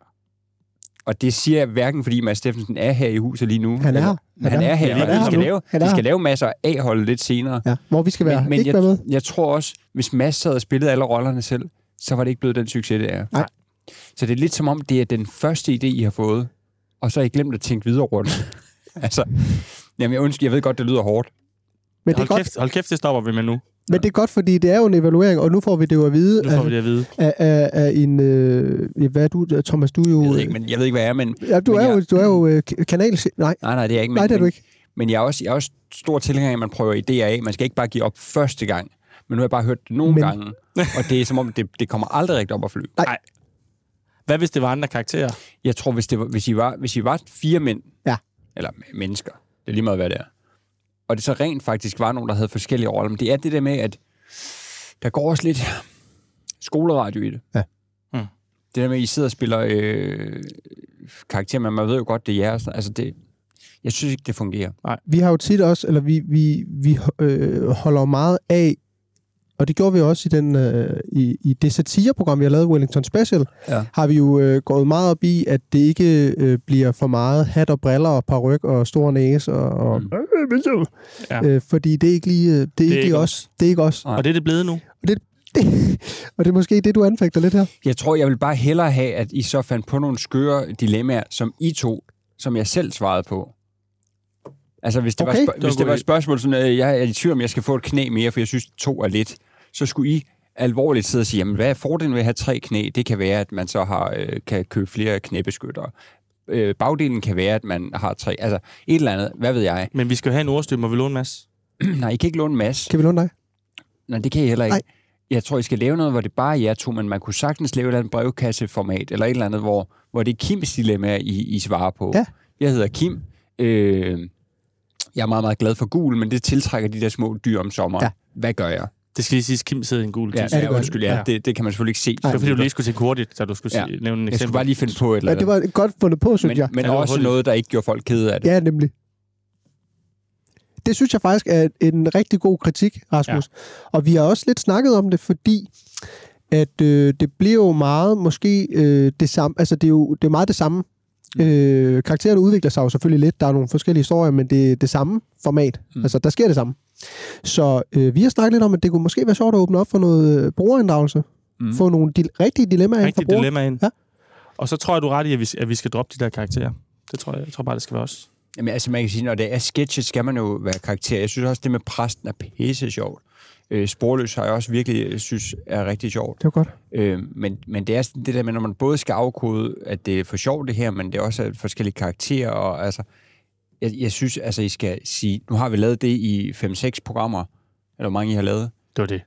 Og det siger jeg hverken, fordi Mads Steffensen er her i huset lige nu. Han er her. eller- Han Han, er er her. her, Ja, og han er vi skal, her. lave, Han er vi her. skal lave masser af A-holdet lidt senere. Ja, hvor vi skal være. Men, men ikke jeg, være med. jeg tror også, hvis Mads sad og spillede alle rollerne selv, så var det ikke blevet den succes, det er. Nej. Så det er lidt som om, det er den første idé, I har fået, og så har I glemt at tænke videre rundt. altså, jamen jeg, undskyld, jeg ved godt, det lyder hårdt. Men det, er Hold godt, kæft, hold kæft, det stopper vi med nu. Nu men det er godt, fordi det er jo en evaluering, og nu får vi det jo at vide får af, vi det at vide. af, af, af en... Øh, ja, hvad er du, Thomas? Du er jo... Jeg ved ikke, men jeg ved ikke hvad jeg er, men... Ja, du men er jeg, jo, du er jo øh, k- kanal... Nej, Nej, nej, det er jeg ikke. Men, nej, det er du men- ikke. Men jeg er også, jeg er også stor tilhænger af, at man prøver idéer af. Man skal ikke bare give op første gang. Men nu har jeg bare hørt det nogle Men- men... gange, og det er som om, det, det kommer aldrig rigtig op at flyve. Hvad hvis det var andre karakterer? Jeg tror, hvis, det var, hvis, I, var, hvis I var fire mænd, Ja. eller m- mennesker, det er lige meget, hvad det er, og det så rent faktisk var nogen, der havde forskellige roller, men det er det der med, at der går også lidt skoleradio i det. Ja. Mm. Det der med, at I sidder og spiller øh, karakterer, men man ved jo godt, det er jeres. Altså det, jeg synes ikke, det fungerer. vi har jo tit også, eller vi, vi, vi øh, holder jo meget af, og det gjorde vi også i, den, øh, i, i det satireprogram, vi har lavet, Wellington Special, Ja. har vi jo øh, gået meget op i, at det ikke øh, bliver for meget hat og briller og paryk og stor næse. Og, og, Mm. Ja. øh, fordi det er, ikke lige, øh, det er, det er ikke lige ikke os. Det er ikke os. Nej. Og det er det blevet nu. Og det, og det er måske det, du anfægter lidt her. Jeg tror, jeg vil bare hellere have, at I så fandt på nogle skøre dilemmaer, som I to, som jeg selv svarede på. Altså, hvis det, okay. Okay. var, Det sp- var hvis en god det var et idé. spørgsmål, sådan, at jeg er i tvivl om, jeg skal få et knæ mere, for jeg synes, to er lidt, så skulle I alvorligt sidde og sige, jamen, hvad er fordelen ved at have tre knæ? Det kan være, at man så har, øh, kan købe flere knæbeskyttere. Øh, bagdelen kan være, at man har tre. Altså, et eller andet. Hvad ved jeg? Men vi skal jo have en ordstøtte, må vi låne en masse. Nej, I kan ikke låne en masse. Kan vi låne dig? Nej, det kan jeg heller ikke. Nej. Jeg tror, I skal lave noget, hvor det bare er jer to, men man kunne sagtens lave et eller andet brevkasseformat, eller et eller andet, hvor, hvor det er Kims dilemma, I, I svarer på. Ja. Jeg hedder Kim. Øh, jeg er meget, meget glad for gul, men det tiltrækker de der små dyr om sommeren. Ja. Hvad gør jeg? Det skal lige siges, Kim sidder i en gul Ja, t-shirt. ja, det ja gør undskyld, ja. Ja. Det, det kan man selvfølgelig ikke se. Det var fordi, du lige skulle tænke hurtigt, da du skulle Ja. ja. nævne et jeg skulle eksempel. bare lige finde på et eller Ja, andet. det var godt fundet på, synes men, jeg. men Ja, det var også hurtigt. noget, der ikke gjorde folk kede af det. Ja, nemlig. Det synes jeg faktisk er en rigtig god kritik, Rasmus. Ja. Og vi har også lidt snakket om det, fordi at øh, det bliver jo meget måske øh, det samme, altså det er jo det er meget det samme. Øh, karaktererne udvikler sig jo selvfølgelig lidt, der er nogle forskellige historier, men det er det samme format. Mm. Altså der sker det samme. Så øh, vi har snakket lidt om, at det kunne måske være sjovt at åbne op for noget øh, brugerinddragelse. Mm. Få nogle di- rigtige dilemmaer ind for rigtig brugerne. dilemma ind. Ja. Ja. Og så tror jeg, du er ret i, at vi, at vi skal droppe de der karakterer. Det tror jeg, jeg tror bare, det skal være os. Jamen, altså, man kan sige, når det er sketches, skal man jo være karakter. Jeg synes også, det med præsten er pisse sjovt. Øh, sporløs har jeg også virkelig øh, synes er rigtig sjovt. Det var godt. Øh, men, men det er sådan det der med, når man både skal afkode, at det er for sjovt det her, men det er også er forskellige karakterer, og altså, jeg, jeg synes, altså, I skal sige, nu har vi lavet det i 5-6 programmer, eller hvor mange I har lavet, Det var det.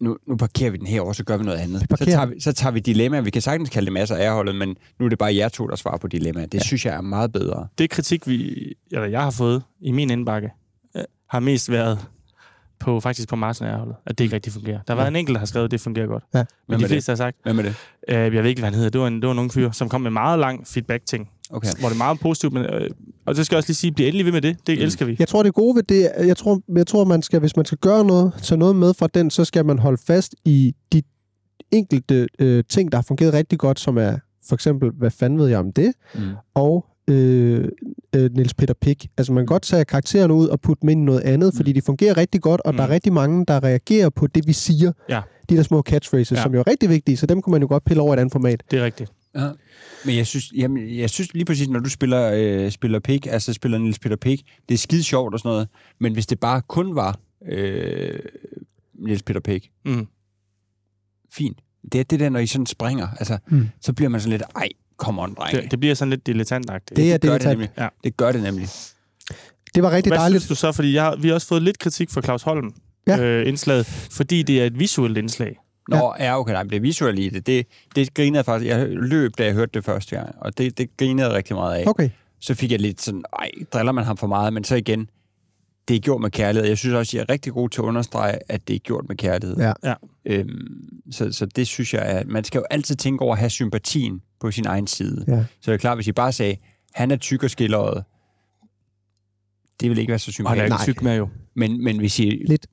nu, nu parkerer vi den her, og så gør vi noget andet. Så parkerer tager vi, så tager vi dilemmaer. Vi kan sagtens kalde det masser af holdet, men nu er det bare jer to, der svarer på dilemmaer. Det ja. synes jeg er meget bedre. Det kritik, vi, eller jeg har fået i min indbakke, øh, har mest været på, faktisk på Martin Erholdet, at det ikke rigtig fungerer. Der har været en enkelt, der har skrevet, at det fungerer godt. Ja. Hvem Men er de det? fleste har sagt, Hvad med det? øh, jeg ved ikke, hvad han hedder. Det var en, det var en ung fyr, som kom med meget lang feedback-ting. Okay. Hvor det er meget positivt, men, øh, og det skal jeg også lige sige, bliv endelig ved med det. Det elsker vi. Jeg tror, det gode ved det, er- jeg tror, jeg tror man skal, hvis man skal gøre noget, tage noget med fra den, så skal man holde fast i de enkelte øh, ting, der har fungeret rigtig godt, som er for eksempel, hvad fanden ved jeg om det, Mm. og øh, øh, Niels Peter Pick. Altså man kan godt tage karaktererne ud og putte dem ind i noget andet, fordi de fungerer rigtig godt, og mm. Mm. der er rigtig mange, der reagerer på det, vi siger. Ja. De der små catchphrases, ja. Ja. som jo er rigtig vigtige, så dem kunne man jo godt pille over i et andet format. Det er rigtigt. Ja. Men jeg synes, jamen, jeg synes lige præcis, når du spiller, øh, spiller pik, altså spiller Niels Peter Pik, det er skide sjovt og sådan noget. Men hvis det bare kun var øh, Niels Peter Pik, Mm. fint. Det er det der, når I sådan springer, altså, mm. så bliver man sådan lidt, ej, come on, dreng. Det, det bliver sådan lidt dilettantagtigt. Det er det, gør det, det, nemlig. Ja. det gør det nemlig. det var rigtig Hvad dejligt. synes du så? Fordi jeg, har- vi har også fået lidt kritik fra Claus Holm Ja. ja. øh, indslaget, fordi det er et visuelt indslag. Nå, ja, okay, nej, men det visuelle i det, det, det grinede jeg faktisk. Jeg løb, da jeg hørte det første gang, og det, det grinede jeg rigtig meget af. Okay. så fik jeg lidt sådan, ej, driller man ham for meget, men så igen, det er gjort med kærlighed. Jeg synes også, jeg er rigtig god til at understrege, at det er gjort med kærlighed. Ja. Ja. Øhm, så, så det synes jeg, at man skal jo altid tænke over at have sympatien på sin egen side. Ja. Så det er klart, hvis I bare sagde, han er tyk og skilleret, det vil ikke være så Og han er sympatisk. ikke syg med jo. Men, men hvis, I, Lidt.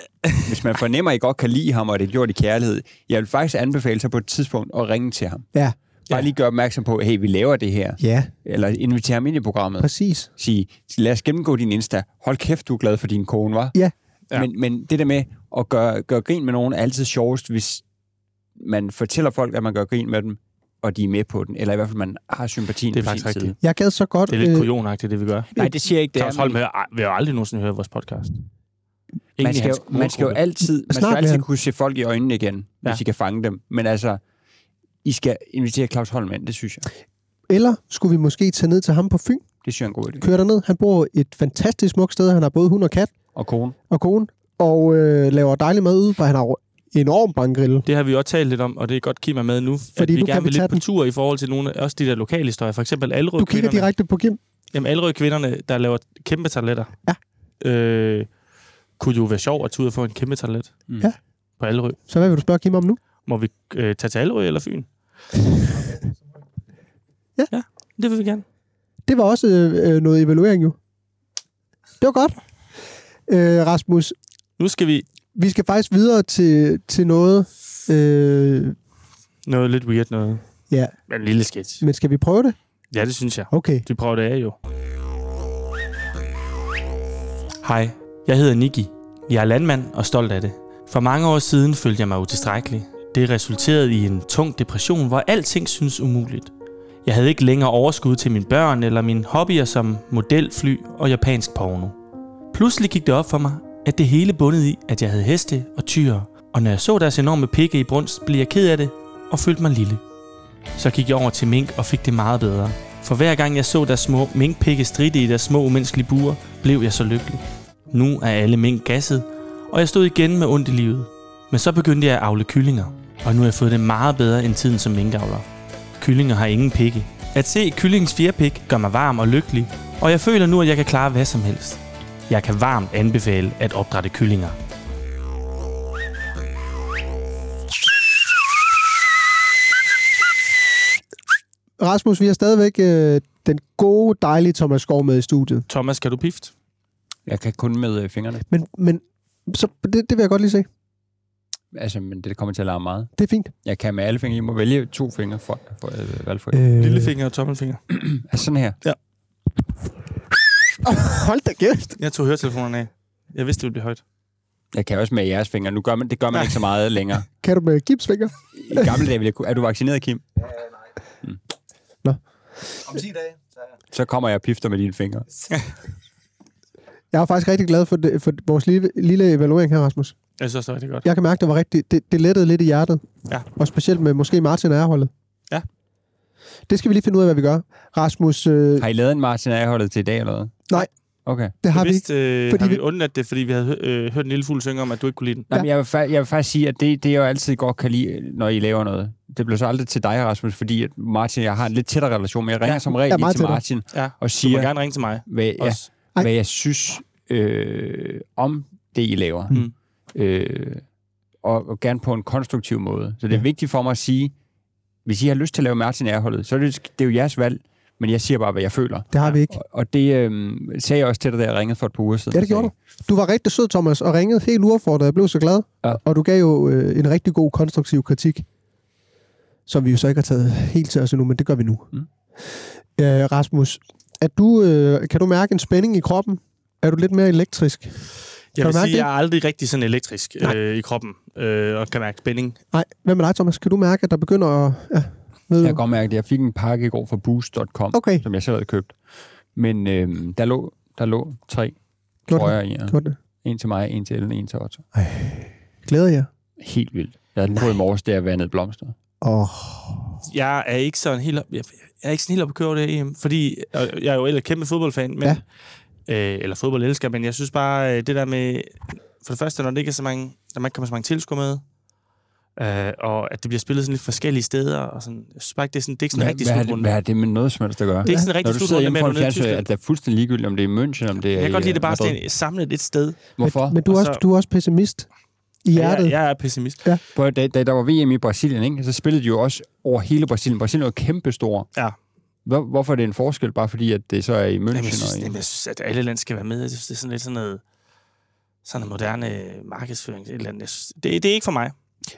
hvis man fornemmer, at I godt kan lide ham, og det er gjort i kærlighed, jeg vil faktisk anbefale sig på et tidspunkt at ringe til ham. Ja. Bare Ja. lige gøre opmærksom på, hey, vi laver det her. Ja, Eller invitere ham ind i programmet præcis. sige, lad os gennemgå din Insta. Hold kæft, du er glad for din kone, var. Ja. Ja. Men, men det der med at gøre, gøre grin med nogen er altid sjovest, hvis man fortæller folk, at man gør grin med dem, og de er med på den. Eller i hvert fald, man har sympatien Det er på faktisk sin side. rigtigt. Jeg gad så godt... Det er lidt øh, kujonagtigt, det vi gør. Nej, det siger jeg ikke. Det Claus er, Holm men hører, ej, vil jo aldrig nogensinde høre vores podcast. Ingen man, i skal, hans jo- man skal jo målgruppe. altid, man skal Snart jo vil altid han. kunne se folk i øjnene igen, ja. hvis Ja. I kan fange dem. Men altså, I skal invitere Claus Holm ind, det synes jeg. Eller skulle vi måske tage ned til ham på Fyn? Det synes jeg er en god idé. Køre derned. Han bor et fantastisk smukt sted. Han har både hund og kat Og kone. og kone. Og øh, laver dejlig mad ude, for han har jo enorm bankgrille. Det har vi også talt lidt om, og det er godt, Kim er med nu. Fordi at vi nu gerne kan vi vil tage lidt på den. tur i forhold til nogle af også de der lokale historier. For eksempel Alrød Du kigger direkte på Kim. Jamen, Alrød kvinderne, der laver kæmpe toiletter. Ja. Øh, kunne jo være sjov at tage ud og få en kæmpe toilet. Mm. Ja. På Alrø. Så hvad vil du spørge Kim om nu? Må vi øh, tage til Alrø eller Fyn? Ja. ja. Det vil vi gerne. Det var også øh, øh, noget evaluering jo. Det var godt. Øh, Rasmus, Nu skal vi vi skal faktisk videre til, til noget. Øh, noget lidt weird noget. ja, Men en lille sketch. men skal vi prøve det? Ja, det synes jeg. Okay. Vi prøver det af jo. Hej, jeg hedder Niki. Jeg er landmand og stolt af det. For mange år siden følte jeg mig utilstrækkelig. Det resulterede i en tung depression, hvor alting synes umuligt. Jeg havde ikke længere overskud til mine børn eller mine hobbyer som modelfly og japansk porno. Pludselig gik det op for mig, at det hele bundede i, at jeg havde heste og tyre, og når jeg så deres enorme pikke i brunst, blev jeg ked af det og følte mig lille. Så gik jeg over til mink og fik det meget bedre. For hver gang jeg så deres små minkpikke stritte i deres små umenneskelige buer, blev jeg så lykkelig. Nu er alle mink gasset, og jeg stod igen med ondt i livet. Men så begyndte jeg at avle kyllinger, og nu har jeg fået det meget bedre end tiden som minkavler. Kyllinger har ingen pikke. At se kyllingens fjerpik gør mig varm og lykkelig, og jeg føler nu, at jeg kan klare hvad som helst. Jeg kan varmt anbefale at opdrætte kyllinger. Rasmus, vi har stadigvæk øh, den gode, dejlige Thomas Skov med i studiet. Thomas, kan du pifte? Jeg kan kun med øh, fingrene. Men, men så, det, det vil jeg godt lige se. Altså, men det kommer til at larme meget. Det er fint. Jeg kan med alle fingre. I må vælge to fingre for, for øh, valgfri. Øh. Øh, Lillefinger og tommelfinger. Altså sådan her. Hold da kæft. Jeg tog høretelefonerne af. Jeg vidste, det ville blive højt. Jeg kan også med jeres fingre. Nu gør man, det gør man Nej. ikke så meget længere. Kan du med gipsfinger? I gamle dage ville jeg kunne... Er du vaccineret, Kim? Mm. Om 10 dage. Så kommer jeg og pifter med dine fingre. Jeg er faktisk rigtig glad for, det, for vores lille, lille evaluering her, Rasmus. Jeg synes også, det var rigtig godt. Jeg kan mærke, det var rigtig, det, det lettede lidt i hjertet. Ja. Og specielt med måske Martin og holdet. Ja. Det skal vi lige finde ud af, hvad vi gør. Rasmus, øh, Har I lavet en Martin Erholdet til i dag eller hvad? Nej. Okay. det har jeg vi ikke. vidste, øh, fordi fordi har vi vi- undladt det, fordi vi havde hø- øh, hørt en lille fugl synge om, at du ikke kunne lide den. Nå, men jeg, vil, fa- jeg vil faktisk sige, at det, det jeg jo altid godt kan lide, når I laver noget, det blev så aldrig til dig, Rasmus, fordi at Martin og jeg har en lidt tættere relation, men jeg ringer ja, som regel ja, ja, meget til tættere. Martin Ja, og Du må siger, gerne ringe til mig. hvad, ja, Også. Ej. hvad jeg synes øh, om det, I laver. Mm. Øh, og, og gerne på en konstruktiv måde. Så det er ja. vigtigt for mig at sige, hvis I har lyst til at lave Martin Erholdet, så er det, det er jo jeres valg, men jeg siger bare, hvad jeg føler. Det har vi ikke. Og, og det øh, sagde jeg også til dig, da jeg ringede for et par uger siden. Ja, det gjorde du. Du var rigtig sød, Thomas, og ringede helt uaffordret. Jeg blev så glad. Ja. Og du gav jo øh, en rigtig god, konstruktiv kritik, som vi jo så ikke har taget helt til os endnu, men det gør vi nu. Mm. Mm. Øh, Rasmus, er du, øh, kan du mærke en spænding i kroppen? Er du lidt mere elektrisk? Jeg du vil mærke sige, det? jeg er aldrig rigtig sådan elektrisk øh, i kroppen, øh, og kan mærke spænding. Nej. Hvad med dig, Thomas? Kan du mærke, at der begynder at... Ja, ved Jeg du? kan godt mærke det. Jeg fik en pakke i går fra Boost.com, Okay. som jeg selv havde købt. Men øhm, der, lå, der lå tre Gjorde trøjer i. og Gjorde det. En til mig, en til Ellen, en til Otto. Glæder jeg. Helt vildt. Jeg havde den på i morges, da jeg vandede blomster. Åh, Jeg er ikke sådan helt op, jeg, jeg er ikke sådan helt op at køre over det her EM, fordi og jeg er jo ellers kæmpe fodboldfan, men, ja. øh, eller fodboldelsker, men jeg synes bare, øh, det der med, for det første, når det ikke er så mange, når man ikke kommer så mange tilskuere med, øh, og at det bliver spillet sådan lidt forskellige steder, og sådan, jeg synes bare ikke, det er sådan, det er ikke sådan en Hvad, rigtig hvad, har det, slutrunde. hvad Det har det med noget som helst at gøre? er ikke sådan en Når rigtig du sidder slutrunde hjemme med, at på du en er nede i fjernsyn, er Tyskland. det fuldstændig ligegyldigt, om det er i München, om det er Jeg kan godt i, lide det øh, bare Madrid. sådan samlet et sted. Hvorfor? Men, men du, er Og også, så- du er også pessimist i hjertet. Jeg, jeg er pessimist. Prøv at- Da, da der var VM i Brasilien, ikke, så spillede de jo også over hele Brasilien. Brasilien er jo kæmpestor. Ja. Hvor, hvorfor er det en forskel, bare fordi at det så er i München? Jamen, jeg, synes, og i... jamen, jeg synes, at alle lande skal være med. Jeg synes, det er sådan lidt sådan noget, sådan noget moderne øh, markedsføring. Et eller andet. Jeg synes, det, det er ikke for mig.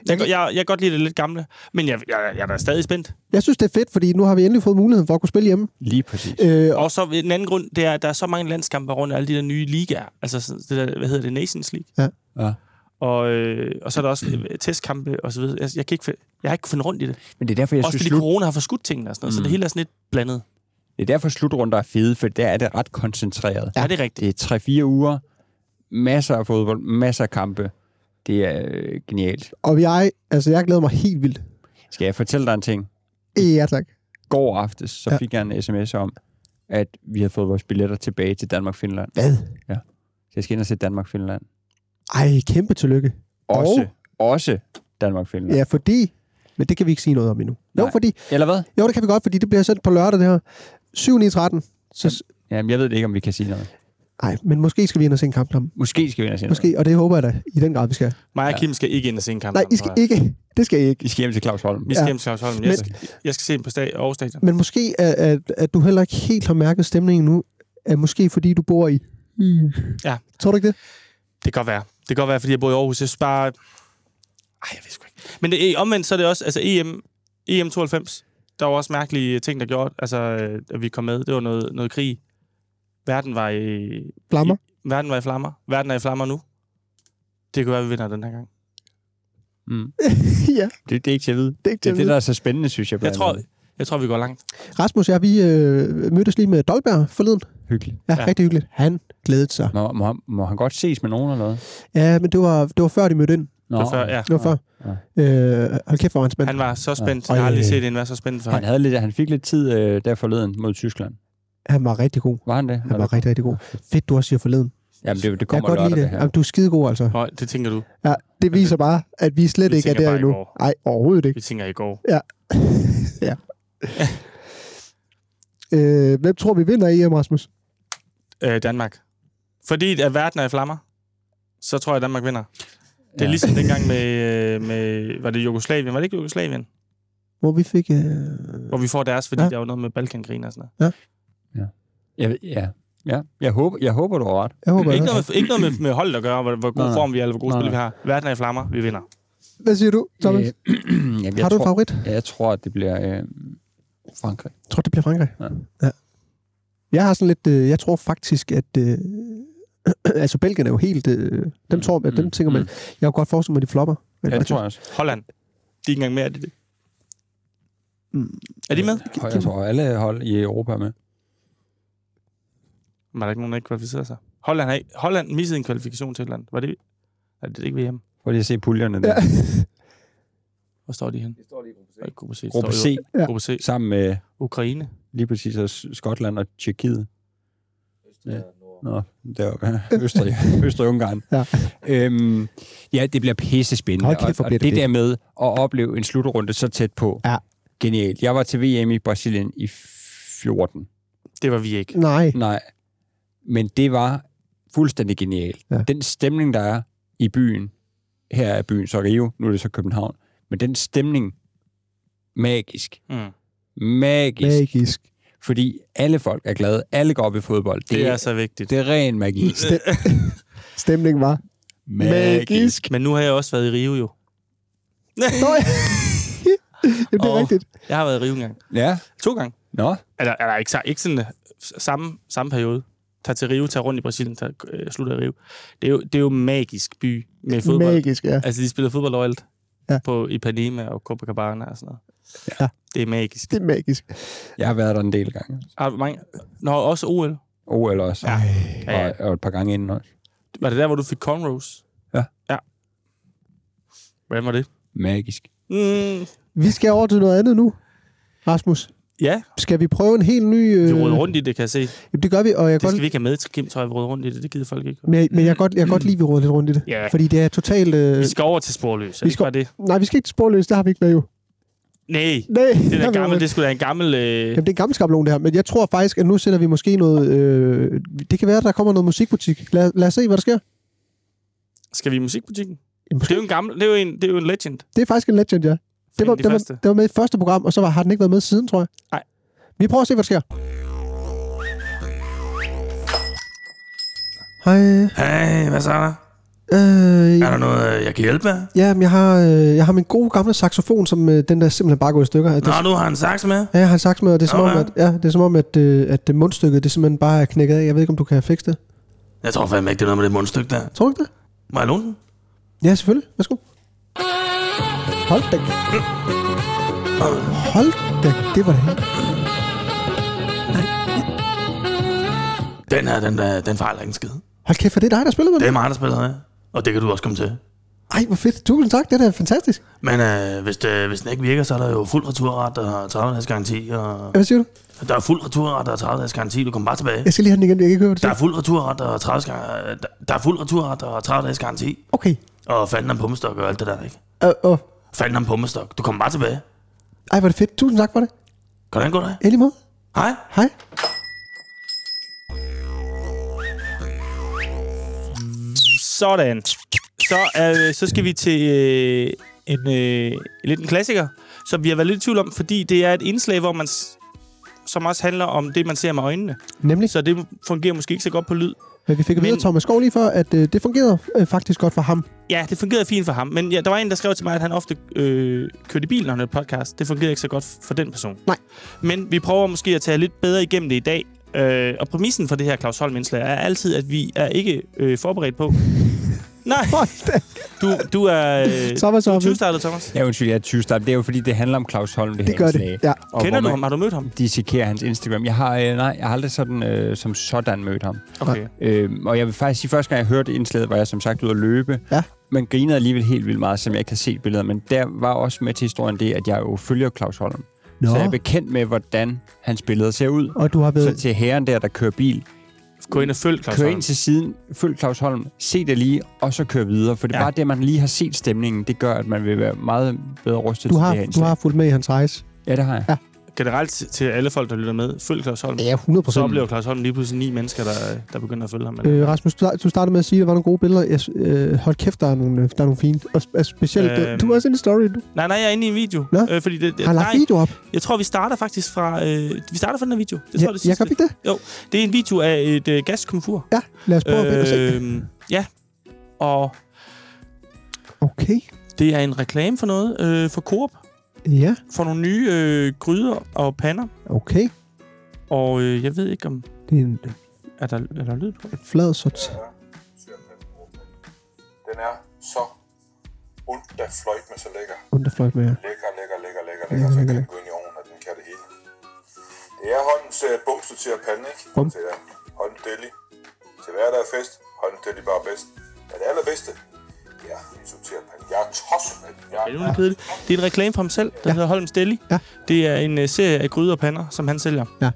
Jeg, jeg, jeg, jeg kan godt lide det lidt gamle, men jeg, jeg, jeg er da stadig spændt. Jeg synes, det er fedt, fordi nu har vi endelig fået muligheden for at kunne spille hjemme. Lige præcis. Øh, Og så en anden grund, det er, at der er så mange landskampe rundt af alle de der nye ligaer. Altså, sådan det der, hvad hedder det, Nations League. Ja. Og, øh, og så er der også øh, testkampe og så videre. Jeg, jeg, kan ikke, fi- jeg har ikke kunnet finde rundt i det. Men det er derfor, jeg Jeg også synes, fordi slut... corona har forskudt tingene og sådan noget, mm. så Mm. det hele er sådan lidt blandet. Det er derfor slutrunder er fede, for der er det ret koncentreret. Ja, det er rigtigt. Det er 3-4 uger, masser af fodbold, masser af kampe. Det er øh, genialt. og jeg, altså, jeg glæder mig helt vildt. Skal jeg fortælle dig en ting? Ja, tak. Går aftes, så Ja. ja. fik jeg en sms om, at vi havde fået vores billetter tilbage til Danmark-Finland. Hvad? Så jeg skal ind og se Danmark-Finland. Ej, kæmpe tillykke. Også, også Danmark-Finland. Ja, fordi... Men det kan vi ikke sige noget om endnu. Jo, Nej. fordi, Eller hvad? jo, det kan vi godt, fordi det bliver sendt på lørdag, det her. 7 9, 13. Så, Jamen, jeg ved det ikke, om vi kan sige noget. nej, men måske skal vi ind og se en kamp sammen. Måske skal vi ind og se noget. Måske, og det håber jeg da, i den grad, vi skal. Mig og Ja. Kim skal ikke ind og se en kamp. Nej, I skal ikke. Det skal I ikke. I skal hjem til Claus Holm. Vi skal Ja. ja. hjem til Claus Holm. Men- Jeg, skal, jeg skal se dem på stad- Aarhus Stadion. Men måske, at, at, at du heller ikke helt har mærket stemningen nu, er måske fordi, du bor i... Mm. Ja. Tror du ikke det? Det kan godt være. Det kan godt være, fordi jeg bor i Aarhus. Jeg synes bare... Ej, jeg ved sgu ikke. Men det, omvendt så er det også... Altså, EM, EM 92, der var også mærkelige ting, der gjorde, altså, øh, at vi kom med. Det var noget, noget krig. Verden var, i, Flammer? verden var i flammer. Verden er i flammer nu. Det kunne være, at vi vinder den her gang. Mm. ja, Det, det er ikke til at vide. Det det er ikke til er at det, vide. der er så spændende, synes jeg. Jeg blandt tror, andet. jeg tror, vi går langt. Rasmus og jeg, vi øh, mødtes lige med Dolberg forleden. Hyggeligt. Ja, Ja. ja, rigtig hyggeligt. Han glædede sig. Nå, må, han, må han godt ses med nogen eller noget? Ja, men det var, det var før, de mødte ind. Nå, Så før, ja. Det var før. Ja. Øh, hold kæft, hvor var han spændt. Han var så spændt. Ej. Jeg har aldrig set en være så spændt for Han, ham. havde lidt, han fik lidt tid øh, der forleden mod Tyskland. Han var rigtig god. Var han det? Han var rigtig, rigtig god. Fedt, du også siger forleden. Jamen, det, det Jeg kommer kan godt lørdag, lide det. her. Jamen, du er skidegod, altså. Nå, det tænker du. Ja, det viser bare, at vi slet Vi ikke er tænker der bare i endnu. går. Nej, overhovedet ikke. Vi tænker i går. Øh, hvem tror vi vinder i, Rasmus? Øh, Danmark. Fordi at verden er i flammer, så tror jeg, at Danmark vinder. Det er Ja. ligesom dengang med, øh, med, var det Jugoslavien? Var det ikke Jugoslavien? Hvor vi fik... Øh... Hvor vi får deres, fordi Ja. ja. der var noget med Balkankrigen og sådan noget. Jeg, ved- ja. ja. Jeg, håber, jeg håber, du har ret. Jeg håber, Ikke jeg noget, med, ikke noget med, med holdet at gøre, hvor, hvor god Nej, nej. form vi er, eller hvor gode Nej, spil vi har. Verden er i flammer, vi vinder. Hvad siger du, Thomas? Øh, jamen, jeg Har du en tror, favorit? Ja, jeg tror, at det bliver øh, Frankrig. Jeg tror, det bliver Frankrig. Ja. ja. Jeg har sådan lidt... Øh, jeg tror faktisk, at... Øh, altså, Belgien er jo helt... Øh, dem tror jeg, dem tænker man... Mm. Jeg kunne godt forestille mig, at de flopper. Men Ja, det tror jeg. jeg også. Holland. De er ikke engang med, er de det? Mm. Er de med? Og Jeg tror, alle hold i Europa er med. Var der ikke nogen, der ikke kvalificerede sig? Holland, har ikke, Holland missede en kvalifikation til et land. Var det, er det ikke VM? Prøv lige at se puljerne der. Ja. Ja. Hvor står de hen? De står lige i gruppe C. de Gruppe står C i- Gruppe C. sammen med Ukraine. lige præcis også Skotland og Tjekkiet. Ja. Nå, deroppe. Østrig, Østrig Ungarn. Ja. Øhm, ja, det bliver pisse spændende. Hold kæft, hvor og, og bliver det, det det der med at opleve en slutrunde så tæt på. Ja. Genialt. Jeg var til VM i Brasilien i 14. Det var vi ikke. Nej. Nej. Men det var fuldstændig genialt. Ja. Ja. Den stemning, der er i byen, her er byen så Rio, nu er det så København, men den stemning, magisk. Mm. Magisk. Mag. Magisk. Fordi alle folk er glade. Alle går op i fodbold. Det, Det er så vigtigt. det er ren magi. Stemningen var... Magisk. Men nu har jeg også været i Rio jo. Nå, ja. Jamen, det er Og- rigtigt. Jeg har været i Rio en gang. Ja. To gange. Nå. Eller, eller ikke, ikke sådan øh, samme, samme periode. Tag til Rio, tag rundt i Brasilien, tag, øh, slutter i Rio. Det er, jo, det er jo en magisk by med fodbold. Magisk, ja. Altså, de spiller fodbold overalt. Ja. Ja. På Ipanema og Copacabana og sådan noget. Ja. Det er magisk. Det er magisk. Jeg har været der en del gange. Har du mange... Nå, også OL. OL også. Ja. Ja, ja. Og, og et par gange inden også. Var det der, hvor du fik cornrows? Ja. Ja. Hvordan var det? Magisk. Mm, Vi skal over til noget andet nu, Rasmus. ja, Skal vi prøve en helt ny... Øh... vi råder rundt i det, kan jeg se. Jamen, det gør vi, og jeg Det kan skal godt... vi ikke have med til Kim, tror jeg, vi råder rundt i det. Det gider folk ikke. Men, jeg- men jeg kan godt, jeg kan godt lide, at vi råder lidt rundt i det. Ja. Fordi det er totalt... Øh... Vi skal over til sporløs. Er Vi det ikke bare det? Nej, vi skal ikke til sporløs, det har vi ikke været jo. Nej, Nej, det er, har da vi gammel, ikke. det skulle da en gammel... Øh... Jamen, det er en gammel skabelon, det her. Men jeg tror faktisk, at nu sender vi måske noget... Øh... Det kan være, at der kommer noget musikbutik. Lad, lad os se, hvad der sker. Skal vi i musikbutikken? Jamen, Det er jo en gammel... Det er jo en, det er jo en legend. Det er faktisk en legend, ja. Det Find var, de det, var, første. det var med i første program, og så var, har den ikke været med siden, tror jeg. Nej. Vi prøver at se, hvad der sker. Hej. Hey, hvad så er der? Øh, Er der noget, jeg kan hjælpe med? ja, men jeg har, øh, jeg har min gode gamle saxofon, som øh, den der simpelthen bare går i stykker. Det, Nå, du har en saks med? ja, jeg har en sax med, og det er som Nå, om, ja. at, ja, det er som om, at, øh, at det mundstykket, det simpelthen bare er knækket af. Jeg ved ikke, om du kan fikse det. Jeg tror fandme ikke, det er noget med det mundstykke der. Tror du ikke det? Må jeg låne den? Ja, selvfølgelig. Værsgo. Hold da. Hold da, det var det. Den her, den, der, den fejler ikke en skid. Hold kæft, for det er dig, der spiller med Det det. er mig, der spiller her. Og det kan du også komme til. Ej, hvor fedt. Tusind tak, det er da fantastisk. Men øh, hvis, det, hvis den ikke virker, så er der jo fuld returret og 30-dages garanti. Og Hvad siger du? der er fuld returret og 30-dages garanti. Du kommer bare tilbage. Jeg skal lige have den igen, jeg kan ikke høre, hvad du siger. Der er fuld returret og 30 gar- der- der er fuld returret og 30-dages garanti. Okay. Og fanden om pummestok og alt det der, ikke? Og, og, Fanden om pummestok. Du kommer bare tilbage. ej, hvor er det fedt. Tusind tak for det. Kan den gå dig? Ellie måde. Hej. Hej. Sådan. Så, øh, så skal vi til øh, en øh, lidt en klassiker, som vi har været lidt i tvivl om, fordi det er et indslag, hvor man s- som også handler om det, man ser med øjnene. Nemlig. Så det fungerer måske ikke så godt på lyd. Men vi fik at vide af Men- Thomas Skov lige før, at øh, det fungerede øh, faktisk godt for ham. Ja, det fungerede fint for ham, men ja, der var en, der skrev til mig, at han ofte øh, kørte i bil, når han hørte podcast. Det fungerede ikke så godt for den person. Nej. Men vi prøver måske at tage lidt bedre igennem det i dag. Øh, og præmissen for det her Claus Holm-indslag er altid, at vi er ikke øh, forberedt på, Nej, Hold da. du, du er... øh, Så var så Du er vel. 20 startet, Thomas. Ja, undskyld, jeg er 20 start. Det er jo fordi, det handler om Claus Holm, det, Det her gør indslag. det. Ja. Og Kender hvor du man ham? Har du mødt ham? Dissekerer hans Instagram. Jeg har, øh, nej, jeg har aldrig sådan, øh, som sådan mødt ham. Okay. Øhm, og jeg vil faktisk sige, første gang jeg hørte indslaget, var jeg som sagt ude at løbe. Ja. Man grinede alligevel helt vildt meget, som jeg ikke kan se billeder. Men der var også med til historien det, at jeg jo følger Claus Holm. Nå. Så jeg er bekendt med, hvordan hans billeder ser ud. Og du har Så været... til herren der, der kører bil, Gå ind og følg Claus kør Holm. ind til siden, følg Claus Holm, se det lige, og så kør videre. For det er Ja. ja. bare det, man lige har set stemningen, det gør, at man vil være meget bedre rustet Du til har, det her du indslag. har fulgt med i hans rejse. Ja, det har jeg. Ja. Generelt til- til alle folk, der lytter med, følg Claus Holm. Ja, 100 Så procent. oplever Claus Holm lige pludselig ni mennesker, der, der begynder at følge ham. Eller? Øh, Rasmus, du, du startede med at sige, at der var nogle gode billeder. Jeg, s- øh, hold kæft, der er nogle, øh, der er nogle fine. Og sp- altså, specielt, Øhm. øhm, du er også en story. Du Nej, nej, jeg er inde i en video. Nå. Øh, fordi det, det, har lagt nej, video op. jeg tror, vi starter faktisk fra... Øh, vi starter fra den her video. Det tror jeg, det jeg sidste. kan ikke det. Det er en video af et øh, gaskomfur. Ja, lad os prøve øh, at se. Øh, ja, og Okay. det er en reklame for noget. Øh, for Coop. Ja, For nogle nye øh, gryder og pander. okay. Og øh, jeg ved ikke, om... Det er en Er der, er der lyd på? en flad sort. Den er så ondt, der fløjt med så lækker. Underfløjt med jer. Lækker, lækker, lækker, lækker, lækker. Så kan den gå ind i ovnen, og den kan det hele. Det er håndens uh, bumse til at pande, ikke? Bum. Til uh, håndens deli. Til hver der er fest, håndens deli bare bedst. Men det allerbedste, det er risotto til at pande. Jeg er tosset med den. Jeg Det er, noget kedeligt. det er en reklame for ham selv, der ja. hedder Holm Deli. Ja. Det er en uh, serie af gryder og pander, som han sælger. Ja.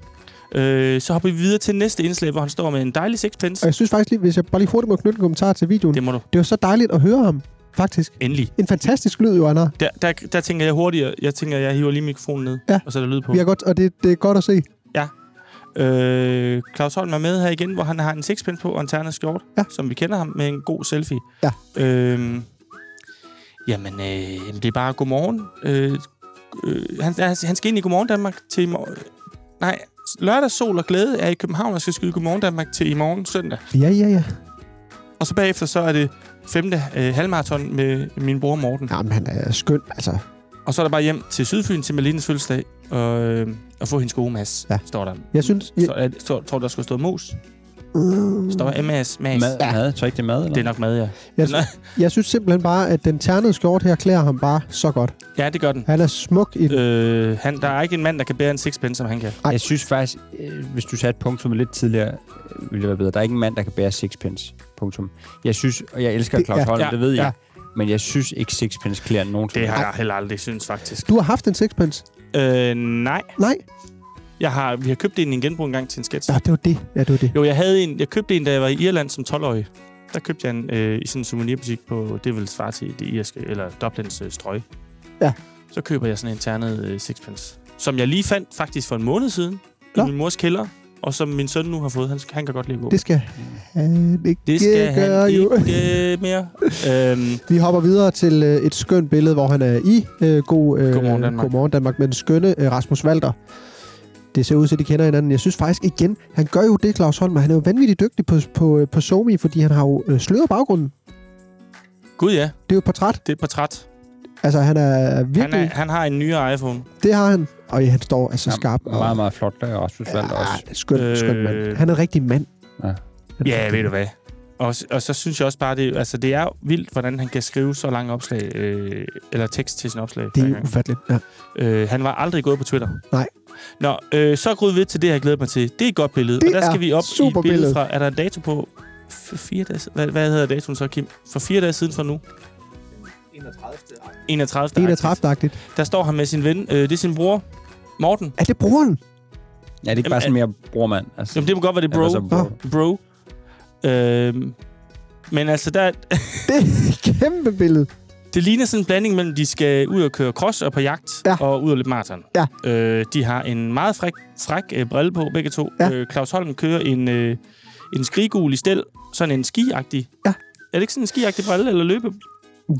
Øh, så hopper vi videre til næste indslag, hvor han står med en dejlig Og sixpence. jeg synes faktisk lige, hvis jeg bare lige hurtigt må knytte en kommentar til videoen. Det må du Det var så dejligt at høre ham, faktisk. endelig. En fantastisk lyd, jo, Anna. Der, der, der tænker jeg hurtigere. Jeg tænker, jeg hiver lige mikrofonen ned, Ja. og så er der lyd på. Vi er godt, og det, det er godt at se. Øh, Claus Holm er med her igen, hvor han har en sixpence på og en ternet skjort, Ja. som vi kender ham, med en god selfie. Ja. Øh, jamen, øh, jamen, det er bare godmorgen. Øh, øh, han, han han skal ind i Godmorgen Danmark til i morgen. Nej, lørdag, sol og glæde er i København og skal skyde Godmorgen Danmark til i morgen søndag. Ja, ja, ja. Og så bagefter så er det femte øh, halvmarathon med min bror Morten. Jamen, han er skøn, altså. Og så er der bare hjem til Sydfyn til Malines fødselsdag og, øh, og få hendes gode mas, ja. Ja. står der. Jeg synes... Jeg, Så, jeg tror, tror, der skulle stå mos. øh, Står der MAS, mas. Mad, ja. mad. Tror ikke, det er mad? Eller? Det er nok mad, ja. jeg, jeg synes simpelthen bare, at den ternede skjort her klæder ham bare så godt. Ja, det gør den. Han er smuk i den. Øh, han, der er ikke en mand, der kan bære en sixpence, som han kan. Ej. Jeg synes faktisk, øh, hvis du satte punktum lidt tidligere, øh, ville det være bedre. Der er ikke en mand, der kan bære sixpence. Punktum. Jeg synes, og jeg elsker Det- Claus ja. Holm, Ja, det ved ja. jeg. Men jeg synes ikke, sixpence klæder nogen Det har jeg heller aldrig synes, faktisk. Du har haft en sixpence. Øh, nej. Nej, Jeg har, vi har købt en i en genbrug en gang til en sketch. Nå, det var det. Ja, det var det. Jo, jeg, havde en, jeg købte en, da jeg var i Irland som 12-årig. Der købte jeg en øh, i sådan en souvenirbutik på, det vil svare til det irske, eller Dublins øh, strøg. Ja. Så køber jeg sådan en ternet øh, sixpence, som jeg lige fandt faktisk for en måned siden Nå. i min mors kælder, og som min søn nu har fået. Han, skal- han kan godt lide at gå. Det skal han ikke det skal han gøre, jo. ikke øh, mere. øhm, Vi hopper videre til øh, et skønt billede, hvor han er i øh, god, øh, Godmorgen Danmark. Godmorgen Danmark med den skønne øh, Rasmus Walter. Det ser ud til, at de kender hinanden. Jeg synes faktisk igen, han gør jo det, Claus Holm, og han er jo vanvittigt dygtig på, på, øh, på Somi, fordi han har jo øh, sløret baggrunden. gud Det ja, er jo et portræt. det er et portræt. Altså, han er virkelig... Han, er, han har en nyere iPhone. Det har han. Og ja, han står altså skarp. Meget, meget, meget flot, der er Rasmus Valder og, også. ah, skøn, øh, skøn mand. Øh. Han er en rigtig mand. Ja. Ja, ved du hvad. Og, s- og så synes jeg også bare, det, altså, det er vildt, hvordan han kan skrive så lange opslag, øh, eller tekst til sin opslag. Det hver er gang. ufatteligt. Ja. Øh, han var aldrig gået på Twitter. Nej. Nå, øh, så grud ved til det, jeg glæder mig til. Det er et godt billede. Det og der er skal vi op i super et billede billede. fra... Er der en dato på? For fire dage, si- hvad, hvad hedder datoen så, Kim? For fire dage siden fra nu? 31. 31. 31. 31-agtigt. Der står han med sin ven. Øh, det er sin bror, Morten. Er det broren? Ja, det er ikke bare sådan mere brormand. Altså, Jamen, det må godt være det, er bro. Eller så bro. bro. Ah. Øhm, men altså, der, Det er et kæmpe billede. det ligner sådan en blanding mellem, de skal ud og køre cross og på jagt, Ja. og ud og løbe maraton. Ja. Øh, de har en meget fræk, fræk øh, brille på, begge to. Ja. Øh, Claus Holm kører en, øh, en skrigul i stel, sådan en skiagtig. Ja. Er det ikke sådan en skiagtig brille, eller løbe?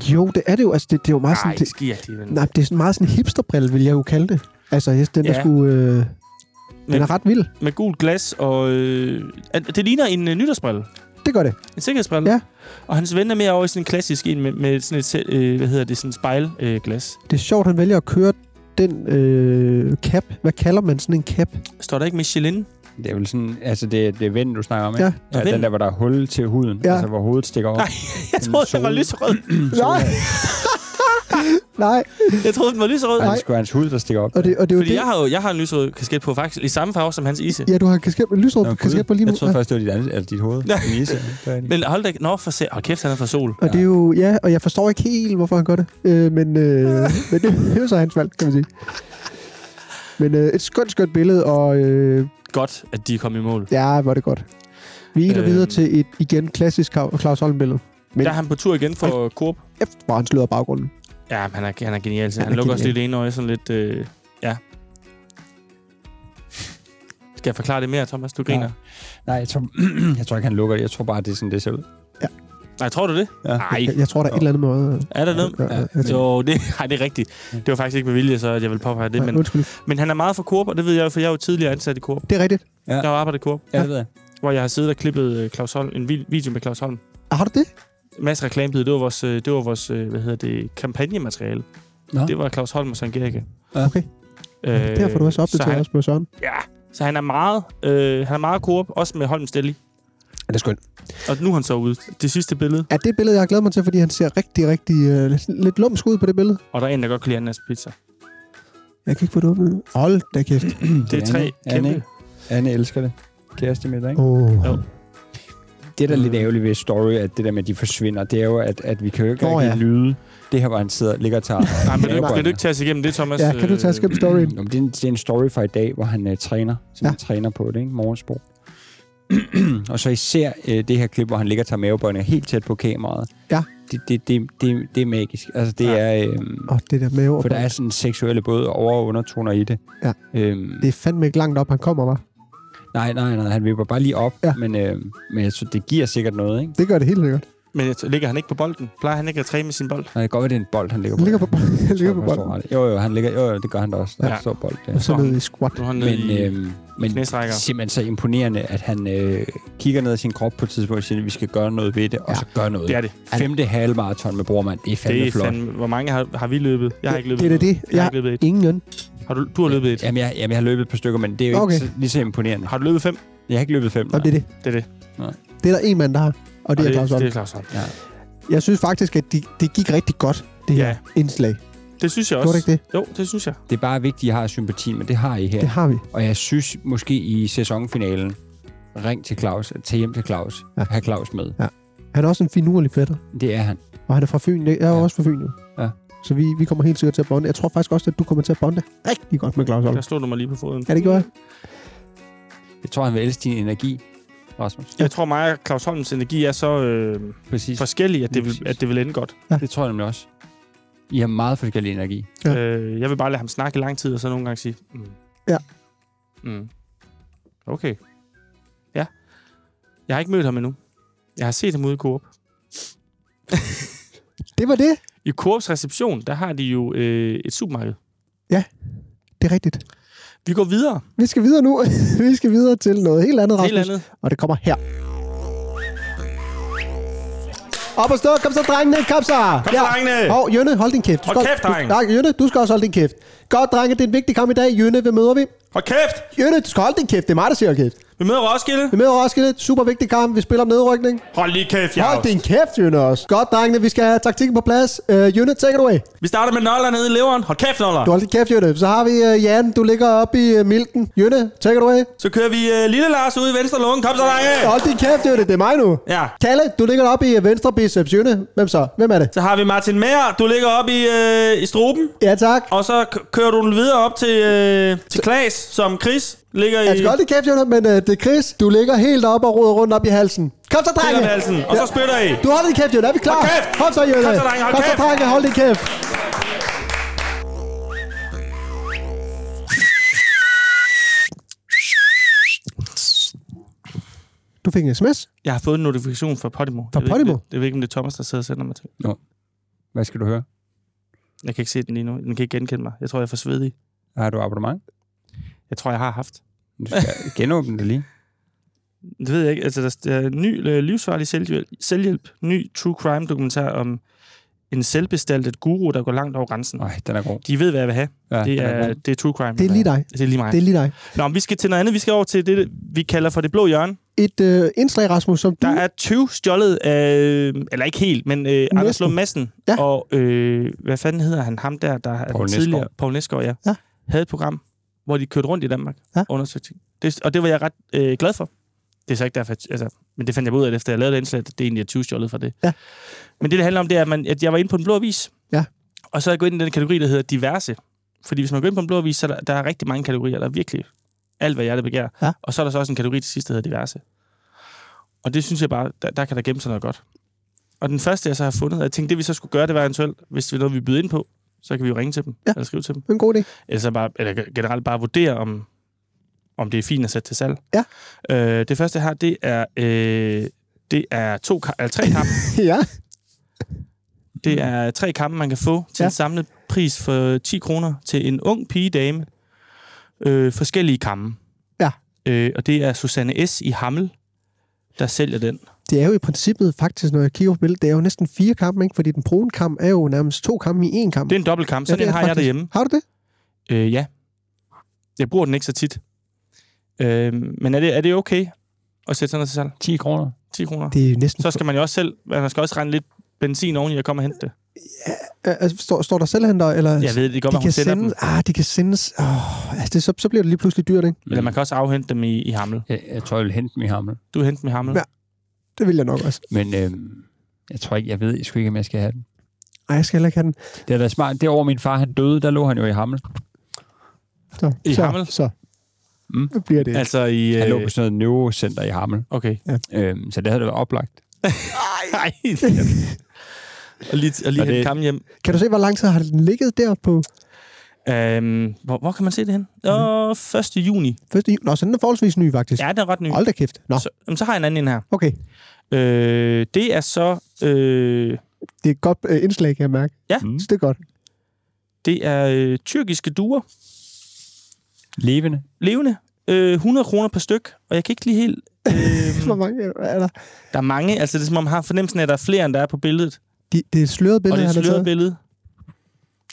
Jo, det er det jo. Altså, det, det er jo meget Nej, sådan... Det, skiagtig. Men, nej, det er sådan meget sådan hipsterbrille, vil jeg jo kalde det. Altså, yes, den der Ja. skulle... Øh, den Men- er ret vild. Med gul glas, og øh, at- det ligner en øh, nytårsbrille. Det gør det. En sikkerhedsbrille. Ja. Og hans ven er mere over i sådan en klassisk en med, med sådan et, sæt, øh, hvad hedder det, sådan et spejlglas. Øh, glas. Det er sjovt, han vælger at køre den øh, cap. Hvad kalder man sådan en cap? Står der ikke Michelin? Det er vel sådan, altså det, det er vinden, du snakker om, ikke? Ja. ja den der, hvor der er hul til huden, Ja. ja. altså hvor hovedet stikker op. Jeg troede, den var lyserød. Nej. Nej. Jeg troede, den var lyserød. Nej, det skulle hans hud, der stikker op. Og det, og det er jo Fordi det. jeg har jo jeg har en lyserød kasket på, faktisk i samme farve som hans ise. Ja, du har en kasket med lysråd Nå, på Gud. kasket på lige nu. Jeg troede Ja. først, det var dit, andet, altså dit hoved. Ja. Din isse. Det er det. Men hold da, nå for se, hold kæft, han er fra sol. Og det er jo, ja, og jeg forstår ikke helt, hvorfor han gør det. Øh, men, øh, men det, det er jo så hans valg, kan man sige. Men øh, et skønt, skønt billede, og øh, Godt, at de kom i mål. ja, var det godt. Vi er øh, Øhm. videre til et igen klassisk Kau- Claus Holm-billede. Men- Der er han på tur igen for Coop. Efter hvor han slår baggrunden. Ja, men han er, han er genial. så Han er Han, han lukker også genial. lidt ene øje, sådan lidt... Øh, ja. Skal jeg forklare det mere, Thomas? Du griner. Nej. Nej, jeg tror, jeg tror ikke, han lukker det. Jeg tror bare, det er sådan, det ser ud. Nej, tror du det? Ja. Nej, Jeg, jeg tror, der er et eller andet måde. øh, er der noget? Ja, ja, jeg tror- Jo, det, nej, det er rigtigt. Det var faktisk ikke med vilje, så at jeg ville påpege det. Nej, Men, undskyld. men han er meget fra Coop, og det ved jeg jo, for jeg er jo tidligere ansat i Coop. Det er rigtigt. Jeg har jo arbejdet i Coop, Ja, det ved jeg. hvor jeg har siddet og klippet øh, Claus Holm, en vi- video med Claus Holm. Ah, Har du det? Mads reklamebid, det var vores, øh, det var vores øh, hvad hedder det, kampagnemateriale. Nå. Det var Claus Holm og Søren Gericke. Ja. Okay. Øh, Derfor du er så så opdateret han, også på Søren. så han er meget, øh, han er meget Coop, også med Holm Stilli. Ja, det er skønt. Og nu er han så ude. Det sidste billede, Ja, det er et billede, jeg har glædet mig til, fordi han ser rigtig, rigtig øh, lidt, lidt lumsk ud på det billede. og der er en, der godt kan lide Annas Mm, pizza. Jeg kan ikke få det åbnet. Hold da kæft. Det er tre Anne, kæmpe... Anne elsker det. Kæreste med dig, ikke? Oh. Jo. Det, der er Mm. lidt ærgerligt ved story, at det der med, at de forsvinder, det er jo, at, at vi kan jo ikke Nå, oh, rigtig ja. ja. lyde det her, hvor han sidder ligger og tager... Nej, men vil du, ikke- vil du mavebrønden. ikke tage os igennem det, Thomas? Ja, kan du tage Øh, skip storyen? Nå, men det, er en, det er en story fra i dag, hvor han øh, træner, som Ja. ja. han træner på det, ikke? Morgensport. og så især øh, det her klip, hvor han ligger og tager mavebøjninger helt tæt på kameraet. Ja. Det, det, det, det, det er magisk. Altså, det Ja. ja. er... Øh, Åh, det der mave. for der er sådan seksuelle både over- og undertoner i det. Ja. Øhm, Det er fandme ikke langt op, han kommer, var. nej, nej, nej. Han vipper bare lige op. Ja. Ja. Men, øh, men jeg synes, det giver sikkert noget, ikke? Det gør det helt sikkert. Men jeg t- ligger han ikke på bolden? Plejer han ikke at træne med sin bold? Nej, det kan godt være, det er en bold, han ligger på. Han ligger på, han ligger på Jeg forstår bolden. ret. Jo, jo, han ligger, jo, jo, det gør han da også. Der er Ja. ja. stor bold, der. Og så Så ned han- i squat. Nu er han nede øh, Men, i... øhm, men knæstrækker. simpelthen så imponerende, at han øh, kigger ned i sin krop på et tidspunkt og siger, at vi skal gøre noget ved det, og Ja. så gør noget. Det er det. Femte halvmarathon med brormand, det er fandme Det er flot. fandme, hvor mange har, har vi løbet? Jeg har ikke løbet Det er da noget. det. Jeg Jeg har ikke løbet et. Ingen. Har du, du har løbet et. Jamen jeg, jamen, jeg har løbet et par stykker, men det er jo okay. Okay. ikke så, lige så imponerende. Har du løbet fem? Jeg har ikke løbet fem. Og det er det. Det er det. Det er der en mand, der har. Og det er Claus det Holm. er Claus Holm. Jeg synes faktisk, at det de gik rigtig godt, det her Ja. indslag. Det synes jeg Gjorde også. det ikke det? Jo, det synes jeg. det er bare vigtigt, at I har sympati, men det har I her. Det har vi. Og jeg synes måske i sæsonfinalen, ring til Claus, tag hjem til Claus, Ja. ja. have Claus med. Han er også en finurlig fætter. Det er han. Og han er fra Fyn. Jeg er jo Ja. også fra Fyn, jo. Ja. Så vi, vi kommer helt sikkert til at bonde. Jeg tror faktisk også, at du kommer til at bonde rigtig godt med Claus Holm. Der stod du mig lige på foden. Ja, det gjorde jeg. Jeg tror, han vil elske din energi, Rasmus. Jeg tror mig og Claus Holms energi er så øh, Præcis. forskellige, at det, Lige vil, præcis. at det vil ende godt. Det tror jeg nemlig også. I har meget forskellig energi. Ja. Ja. Øh, jeg vil bare lade ham snakke i lang tid, og så nogle gange sige... Mm. Ja. Mm. Okay. Ja. Jeg har ikke mødt ham endnu. Jeg har set ham ude i Coop. Det var det. I Coops reception, der har de jo øh, et supermarked. Det er rigtigt. Vi går videre. Vi skal videre nu. vi skal videre til noget helt andet, Rasmus. Helt andet. Og det kommer her. Op og stå. Kom så, drengene. Kom så. Kom så, drengene. Og Jønne, hold din kæft. Du Hold kæft, dreng. Du, nej, Jønne, du skal også holde din kæft. Godt, drenge. Det er en vigtig kamp i dag. Jønne, hvem møder vi? Hold kæft! Jønne, du skal holde din kæft. Det er mig, der siger kæft. Vi møder Roskilde. Vi møder Roskilde. Super vigtig kamp. Vi spiller om nedrykning. Hold lige kæft, jeg Hold din kæft, Jønne også. Godt, drengene. Vi skal have taktikken på plads. Øh, Jønne, take it away. Vi starter med noller nede i leveren. Hold kæft, noller. Du holder din kæft, Jønne. Så har vi uh, Jan, du ligger oppe i uh, milken. Jønne, take it away. Så kører vi øh, Lille Lars ud i venstre lunge. Kom så, drenge! Hold din kæft, Jønne. Det er mig nu. Ja. Kalle, du ligger oppe i øh, venstre biceps, Jønne. Hvem så? Hvem er det? Så har vi Martin Mær. Du ligger op i, øh, i struben. Ja, tak. Og så k- kører du den videre op til, øh, til Klaas, som Chris ligger i... Jeg skal holde din kæft, Jønne, men uh, det er Chris. Du ligger helt oppe og roder rundt op i halsen. Kom så, drenge. ligger ved halsen. Og så spytter I. Du holder din kæft, Jønne. Er vi klar? Hold kæft! Kom så, Jønne. Kom så, drenge. Hold Kom så, kæft! drenge. Hold din kæft. Du fik en sms. Jeg har fået en notifikation fra Podimo. Fra Jeg ved ikke, om Podimo? Det, jeg ved ikke, om det er Thomas, der sidder og sender mig til. Hvad skal du høre? Jeg kan ikke se den lige nu. Den kan ikke genkende mig. Jeg tror, jeg er for svedig. Har du abonnement? Jeg tror, jeg har haft. Du skal genåbne det lige. Det ved jeg ikke. Altså, der der er en ny øh, livsfarlig selvhjælp, selvhjælp. Ny true crime dokumentar om en selvbestaltet guru, der går langt over grænsen. Nej, den er god. De ved, hvad jeg vil have. Ja, Det den er, god. det er true crime. Det er lige dig. det er lige mig. Det er lige dig. Nå, men vi skal til noget andet. Vi skal over til det, vi kalder for det blå hjørne. Et øh, indslag, Rasmus, som du... Der er 20 stjålet af, eller ikke helt, men øh, Anders Lund Madsen Ja. og, øh, hvad fanden hedder han, ham der, der er Poul den tidligere, Nesgaard. Poul Nesgaard, ja, Ja. havde et program, hvor de kørte rundt i Danmark Ja. og undersøgte ting. Det, og det var jeg ret øh, glad for. Det er så ikke derfor, at- altså, men det fandt jeg ud af, efter jeg lavede det indslag, at det egentlig er 20 stjålet fra det. Ja. Men det, det handler om, det er, at, man, at jeg var inde på en blå avis, Ja. og så er jeg gået ind i den kategori, der hedder diverse. Fordi hvis man går ind på en blå avis, så er der, der er rigtig mange kategorier, der er virkelig alt, hvad hjertet begærer. Ja. Og så er der så også en kategori til sidst, der hedder diverse. Og det synes jeg bare, der, der kan der gemme sig noget godt. Og den første, jeg så har fundet, og jeg tænkte, det vi så skulle gøre, det var eventuelt, hvis det er noget, vi byder ind på, så kan vi jo ringe til dem, Ja. ja. eller skrive til dem. En god idé. Eller, så bare, eller generelt bare vurdere, om, om det er fint at sætte til salg. Ja. Øh, det første her, det er, øh, det er to, ka- eller tre kampe. ja. Det er tre kampe, man kan få Ja. til ja. en samlet pris for 10 kroner til en ung pigedame. Øh, forskellige kampe. Ja. Øh, og det er Susanne S. i Hammel, der sælger den. Det er jo i princippet faktisk, når jeg kigger på billedet, det er jo næsten fire kampe, ikke? fordi den brune kamp er jo nærmest to kampe i én kamp. Det er en dobbeltkamp, så ja, den er har jeg faktisk- derhjemme. Har du det? Øh, ja. Jeg bruger den ikke så tit. Øh, men er det, er det okay at sætte sådan noget til salg? 10 kroner. 10 kroner? Det er næsten... Så skal man jo også selv, man skal også regne lidt benzin oveni og komme og hente det. Øh, altså, står, står der selvhenter, eller... Jeg ved det er godt, de at hun kan sender sendes, dem. ah, de kan sendes, oh, altså det, så, så bliver det lige pludselig dyrt, ikke? Eller man kan også afhente dem i, i Hammel. Jeg, jeg tror, jeg vil hente dem i Hammel. Du henter dem i Hammel. Ja. Det vil jeg nok også. Men øhm, jeg tror ikke, jeg ved jeg sgu ikke, om jeg skal have den. Nej, jeg skal heller ikke have den. Det er da smart. Det over min far, han døde, der lå han jo i Hammel. Så, I så, Hammel? Så. Mm. Det bliver det. Altså i... Han lå Øh, på sådan noget neurocenter i Hammel. okay. Øhm, så det havde det været oplagt. Nej. og lige, og lige hente Og det- det... kampen hjem. Kan du se, hvor lang tid har den ligget der på Øhm, hvor, hvor kan man se det hen? Åh, 1. juni. 1. juni? Nå, så den er forholdsvis ny, faktisk. Ja, den er ret ny. Hold da kæft. Nå, Så, jamen, så har jeg en anden en her. okay. Øh, det er så... Øh, Det er et godt øh, indslag, kan jeg mærke. Ja. Mm. Så det er godt. det er øh, tyrkiske duer. Levende. levende. Øh, 100 kroner per styk, og jeg kan ikke lige helt... Øh, Hvor mange er der? der er mange, altså det er som om, man har fornemmelsen af, at der er flere, end der er på billedet. De, det er et sløret og billede, det er et han har sløret taget. billede.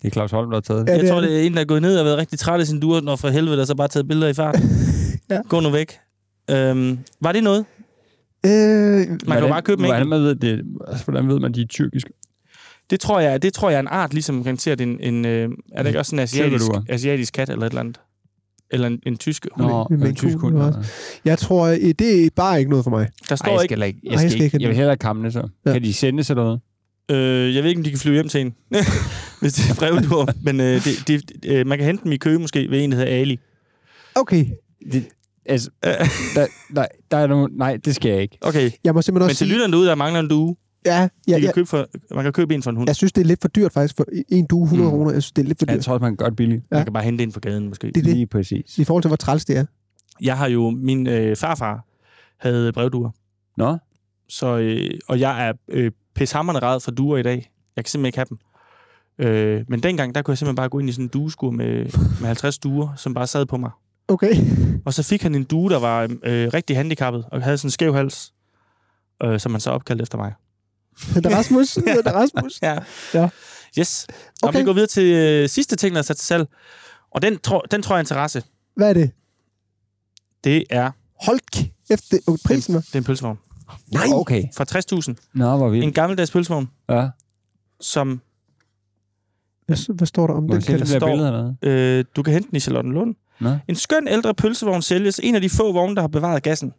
Det er Claus Holm, der har taget Ja, det. Jeg det tror, er det. det er en, der er gået ned og været rigtig træt af sin dur, når for helvede, der så bare taget billeder i fart. Ja. ja. Gå nu væk. Øhm, var det noget? Øh, Man kan jo bare købe dem hvordan, enkelt. man ved det, altså, hvordan ved man, de er tyrkiske? Det tror jeg, det tror jeg er en art, ligesom garanteret en... en øh, er det ikke også en asiatisk, Tyrkerduer. asiatisk kat eller et eller andet? Eller en, en tysk hund? Nå, med med en en tysk kugle hund. nu også. jeg tror, øh, det er bare ikke noget for mig. Der Ej, står jeg ikke... skal ikke. Ej, Jeg, skal ikke. jeg vil hellere kamme det så. Ja. Kan de sende sig noget? Øh, jeg ved ikke, om de kan flyve hjem til en. Hvis det er brevduer. Men øh, det, det, øh, man kan hente dem i kø måske ved en, der hedder Ali. Okay, Det, altså, der, der, der er nogen, nej, det skal jeg ikke. Okay. jeg må simpelthen Men også til lytterne derude, der mangler en due. ja, ja, Ja, kan ja, Købe for, man kan købe en for en hund. jeg synes, det er lidt for dyrt faktisk. For en due 100 Mm. kroner, jeg synes, det er lidt for Jeg dyrt. tror, at man kan godt billigt. ja. Man kan bare hente en på gaden, måske. Det er det, Lige præcis. i forhold til, hvor træls det er. Jeg har jo... Min øh, farfar havde brevduer. Nå, Så, øh, og jeg er øh, pishammerende ræd for duer i dag. Jeg kan simpelthen ikke have dem. Øh, men dengang, der kunne jeg simpelthen bare gå ind i sådan en dueskur med, med 50 duer, som bare sad på mig. Okay. Og så fik han en due, der var øh, rigtig handicappet, og havde sådan en skæv hals, øh, som han så opkaldte efter mig. Det er Rasmus. Det er Rasmus. Ja. Ja. Yes. Okay. Okay. Nå, vi går videre til øh, sidste ting, der er sat til salg. Og den, tror, den tror jeg er interesse. Hvad er det? Det er Hold kæft, det, oh, prisen var. Det er en pølsevogn. nej. Okay. For 60.000. Nå, hvor vildt. En gammeldags pølsevogn, Ja. som Hvad, hvad står der om Må den? jeg se det der står- billede hernede? øh, du kan hente den i Charlottenlund. Nå. En skøn ældre pølsevogn sælges. En af de få vogne, der har bevaret gassen.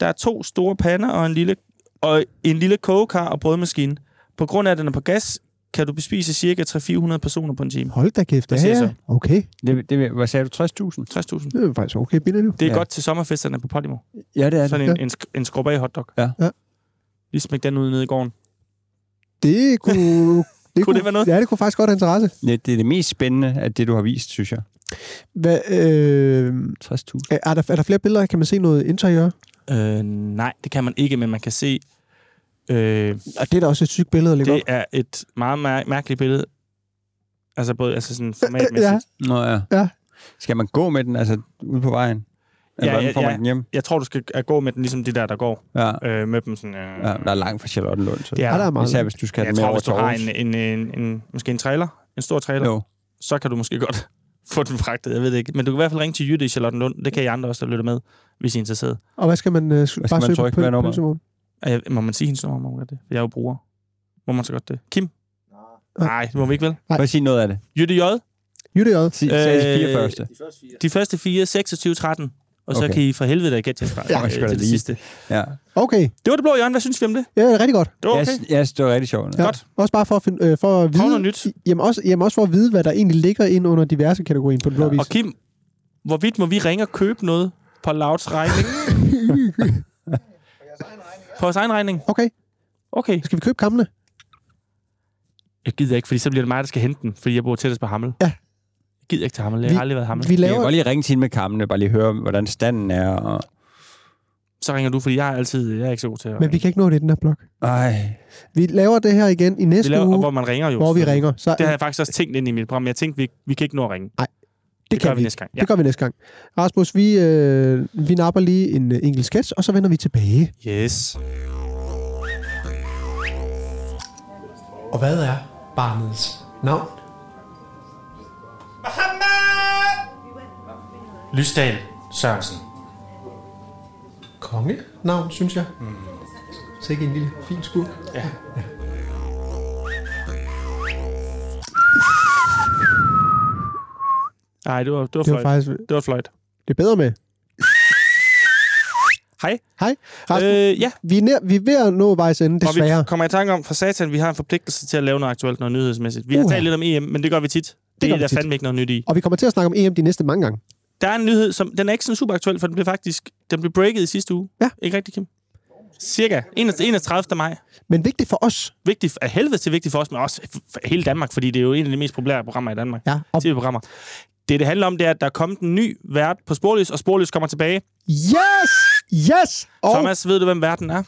Der er to store pander og en lille, og en lille kogekar og brødmaskine. På grund af, at den er på gas, kan du bespise cirka 300-400 personer på en time. Hold da kæft. Hvad Ja, siger jeg ja. Okay. Det, det, hvad sagde du? 60.000? 60.000. Det er faktisk okay billede nu. Det er Ja. ja. godt til sommerfesterne på Podimo. Ja, det er det. Sådan en, en, sk- en skrub af hotdog. Ja. Ja. Lige smæk den ud nede i gården. Det kunne... Det Kunne det være noget? Ja, det kunne faktisk godt have interesse. Det, det er det mest spændende af det, du har vist, synes jeg. Hvad, øh, 60.000. er, der, er der flere billeder? Kan man se noget interiør? Øh, nej, det kan man ikke, men man kan se... Øh, Og det er da også et sygt billede at lægge Det op. er et meget mær- mærkeligt billede. Altså både altså sådan formatmæssigt. Ja. Ja. Nå ja. Ja. Skal man gå med den, altså ude på vejen? Ja, Eller hvordan ja, får man ja. den hjem? Jeg tror, du skal øh, gå med den, ligesom de der, der går Ja. øh, med dem. Sådan, øh, ja. Der er langt fra Charlottenlund. Så. Det er Ja, der er der. meget. Især hvis du skal have Jeg den med tror, over hvis til du har Aarhus. en, en, en, en, måske en trailer, en stor trailer, Jo. så kan du måske godt få den fragtet. Jeg ved det ikke. Men du kan i hvert fald ringe til Jytte i Charlottenlund. Det kan I andre også, der lytter med, hvis I er interesseret. Og hvad skal man øh, Hvad bare skal man søge trykke? på Hvad pøl- er nummeret? pølsemor? Og Jeg, må man sige hendes nummer? Må man godt det? For jeg er jo bruger. Må man så godt det? Kim? Nej, det må vi ikke vel. Prøv at sige noget af det. Jytte J. Jytte J. Sig, øh, sagde de fire Øh, første. De første fire, 26, 13. Og så Okay. okay. kan I for helvede da gætte jer fra Ja, øh, skal da til det lige. sidste. Ja. Okay, Det var det blå hjørne. Hvad synes vi om det? ja, det er rigtig godt. Det var Jeg, okay. s- jeg synes, det var rigtig sjovt. Ja. Godt. Også bare for at, finde, øh, for at Prøv vide... noget nyt. Jamen også, jamen også for at vide, hvad der egentlig ligger ind under diverse kategorien på den blå vis. Og Kim, hvorvidt må vi ringe og købe noget på Lauts regning? på vores egen regning? Okay, Okay. skal vi købe kampene? Jeg gider ikke, fordi så bliver det mig, der skal hente den, fordi jeg bor tættest på Hammel. Ja. Jeg gider ikke til Hammel. Jeg Vi- har aldrig været i Hammel. Vi Jeg kan laver... godt lige ringe til hende med kammene, bare lige høre, hvordan standen er. Og... Så ringer du, fordi jeg er altid jeg er ikke så god til at Men vi kan ikke nå det i den her blok. Ej, Vi laver det her igen i vi næste laver, uge, og hvor man ringer jo. hvor vi selvfølgelig. ringer. Så øh, Det har jeg faktisk også tænkt ind i mit program. Jeg tænkte, vi, vi kan ikke nå at ringe. det gør kan vi vi. næste gang. Ja. Det gør vi næste gang. Rasmus, vi, øh, vi napper lige en øh, enkelt sketch, og så vender vi tilbage. Yes. Og hvad er barnets navn? Lysdal Sørensen. Kongenavn, synes jeg. Mm. Så ikke en lille fin skurk. Nej, det var, det var, Det var fløjt. faktisk Det var fløjt. det er bedre med. Hej. Hej, Rasmus. Øh, Øh, ja, vi, er nær, vi er ved at nå vejs ende, og vi desværre. kommer i tanke om, for satan, vi har en forpligtelse til at lave noget aktuelt, noget nyhedsmæssigt. Vi har Uha. talt lidt om EM, men det gør vi tit. Det, det gør er vi der tit. fandme ikke noget nyt i. Og vi kommer til at snakke om EM de næste mange gange. Der er en nyhed, som den er ikke sådan super aktuel, for den blev faktisk den blev breaket i sidste uge. Ja. Ikke rigtigt, Kim? Cirka 31. 31. maj. Men vigtigt for os. Vigtigt, af helvede til vigtigt for os, men også for hele Danmark, fordi det er jo en af de mest populære programmer i Danmark. Ja, og TV-programmer. Det, det handler om, det er, at der er kommet en ny vært på Sporløs, og Sporløs kommer tilbage. yes! Yes! Og Og... Thomas, ved du, hvem verden er?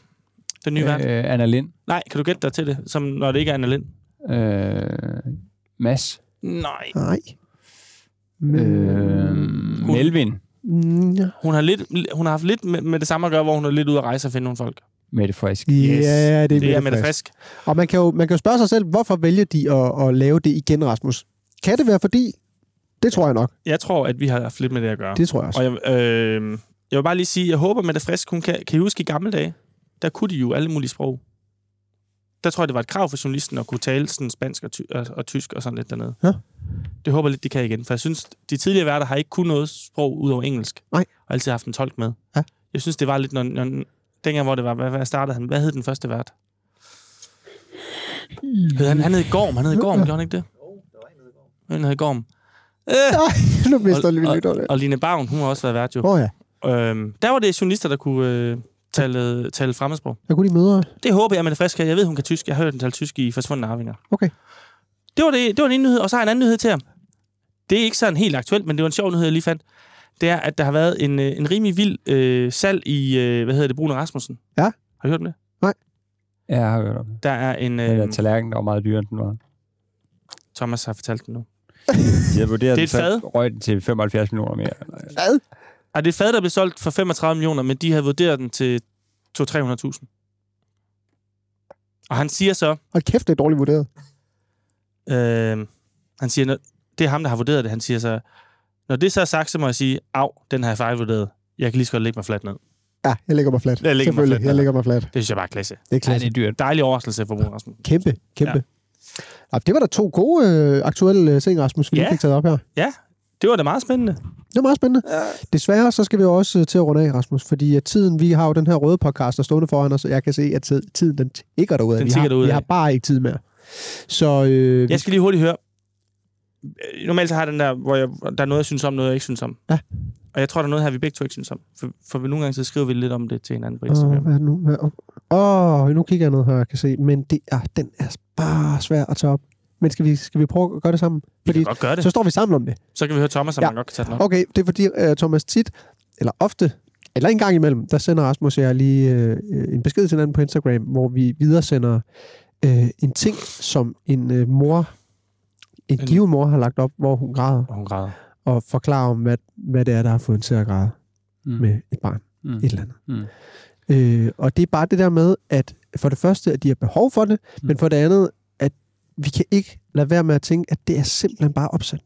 Den nye øh... vært. øh, Anna Lind. Nej, kan du gætte dig til det, som, når det ikke er Anna Lind? Øh, Mads. Nej. Nej. Øh, Melvin. Mm, ja. Hun har, lidt, hun har haft lidt med, med det samme at gøre, hvor hun er lidt ude at rejse og finde nogle folk. Mette Frisk. Ja, det er, det er Mette Frederiksen. Frisk. Og man kan, jo, man kan jo spørge sig selv, hvorfor vælger de at, at lave det igen, Rasmus? Kan det være fordi... Det tror jeg nok. Jeg tror, at vi har haft lidt med det at gøre. Det tror jeg også. Og jeg, øh, jeg vil bare lige sige, jeg håber, Mette Frisk, hun kan, kan I huske i gamle dage, der kunne de jo alle mulige sprog. Der tror jeg, det var et krav for journalisten at kunne tale sådan spansk og, ty- og, og tysk og sådan lidt dernede. Ja. Det håber jeg lidt, de kan igen, for jeg synes, de tidligere værter har ikke kun noget sprog ud over engelsk. Nej. Og altid haft en tolk med. Ja. Jeg synes, det var lidt, når, når dengang, hvor det var, hvad, hvad startede han? Hvad hed den første vært? Hed han, han hed Gorm, han hed Gorm, gjorde han ikke det? Jo, der var en, der hed Gorm. Han hed Gorm. Øh, nu mister jeg lige lidt over det. og Line Bavn, hun har også været vært jo. Åh oh, ja. Øhm, der var det journalister, der kunne øh, tale, tale fremmedsprog. Jeg kunne lige møde jer. Det håber jeg, man er frisk her. Jeg ved, hun kan tysk. Jeg har hørt hende tale tysk i Forsvundne Arvinger. Okay. Det var, det, det var en nyhed, og så har jeg en anden nyhed til ham. Det er ikke sådan helt aktuelt, men det var en sjov nyhed, jeg lige fandt. Det er, at der har været en, øh, en rimelig vild øh, salg i, øh, hvad hedder det, Bruno Rasmussen. Ja. Har du hørt om det? Ja, jeg har hørt om det. Der er en... Den der Øh, tallerken, der var meget dyrere, end den var. Thomas har fortalt den nu. De havde vurderet Det er den, et fad. så røg den til 75 millioner mere. Hvad? Og det er et fad, der blev solgt for 35 millioner, men de har vurderet den til 200-300.000. Og han siger så, Hold kæft, det er dårligt vurderet. Øh, han siger, når- det er ham, der har vurderet det. Han siger så, når det så er sagt, så må jeg sige, af, den har jeg fejlvurderet. Jeg kan lige så godt lægge mig fladt ned. Ja, jeg lægger mig fladt. Jeg lægger mig Selvfølgelig, fladt, jeg ja. lægger mig fladt. Det synes jeg bare er klasse. Det er Ej, klasse. det er dyrt. Dejlig overraskelse for Bruno Rasmussen. Kæmpe, kæmpe. Ja. Det var da to gode øh, aktuelle øh, ting, Rasmus, vi ja. Ja. fik taget op her. Det var da meget spændende. Det var meget spændende. Ja. Desværre så skal vi jo også øh, til at runde af, Rasmus, fordi at tiden, vi har jo den her røde podcast, der stående foran os, og jeg kan se, at tid- tiden den tigger derude. Den vi tikker har, derudad. Vi har bare ikke tid mere. Så øh, Jeg skal lige hurtigt høre. Øh, Normalt så har jeg den der, hvor jeg, der er noget, jeg synes om, noget, jeg ikke synes om. Ja. Og jeg tror, der er noget her, vi begge to ikke synes om. For, for nogle gange så skriver vi lidt om det til hinanden på Åh, Instagram. hvad er det nu? Hvad- Åh, oh, nu kigger jeg ned her, jeg kan se. Men det er, den er bare svær at tage op. Men skal vi, skal vi prøve at gøre det sammen? vi Fordi kan godt gøre det. så står vi sammen om det. Så kan vi høre Thomas, om Ja. ja. man godt kan tage den op. Okay, det er fordi uh, Thomas tit, eller ofte, eller en gang imellem, der sender Rasmus og jeg lige øh, øh, en besked til hinanden på Instagram, hvor vi videresender øh, en ting, som en øh, mor, en, En- en given mor har lagt op, hvor hun græder Og hun græder. og forklarer om, hvad, hvad det er, der har fået hende til at græde. Mm. med et barn, Mm. et eller andet. Mm. Øh, og det er bare det der med, at for det første, at de har behov for det, mm. men for det andet, at vi kan ikke lade være med at tænke, at det er simpelthen bare opsat.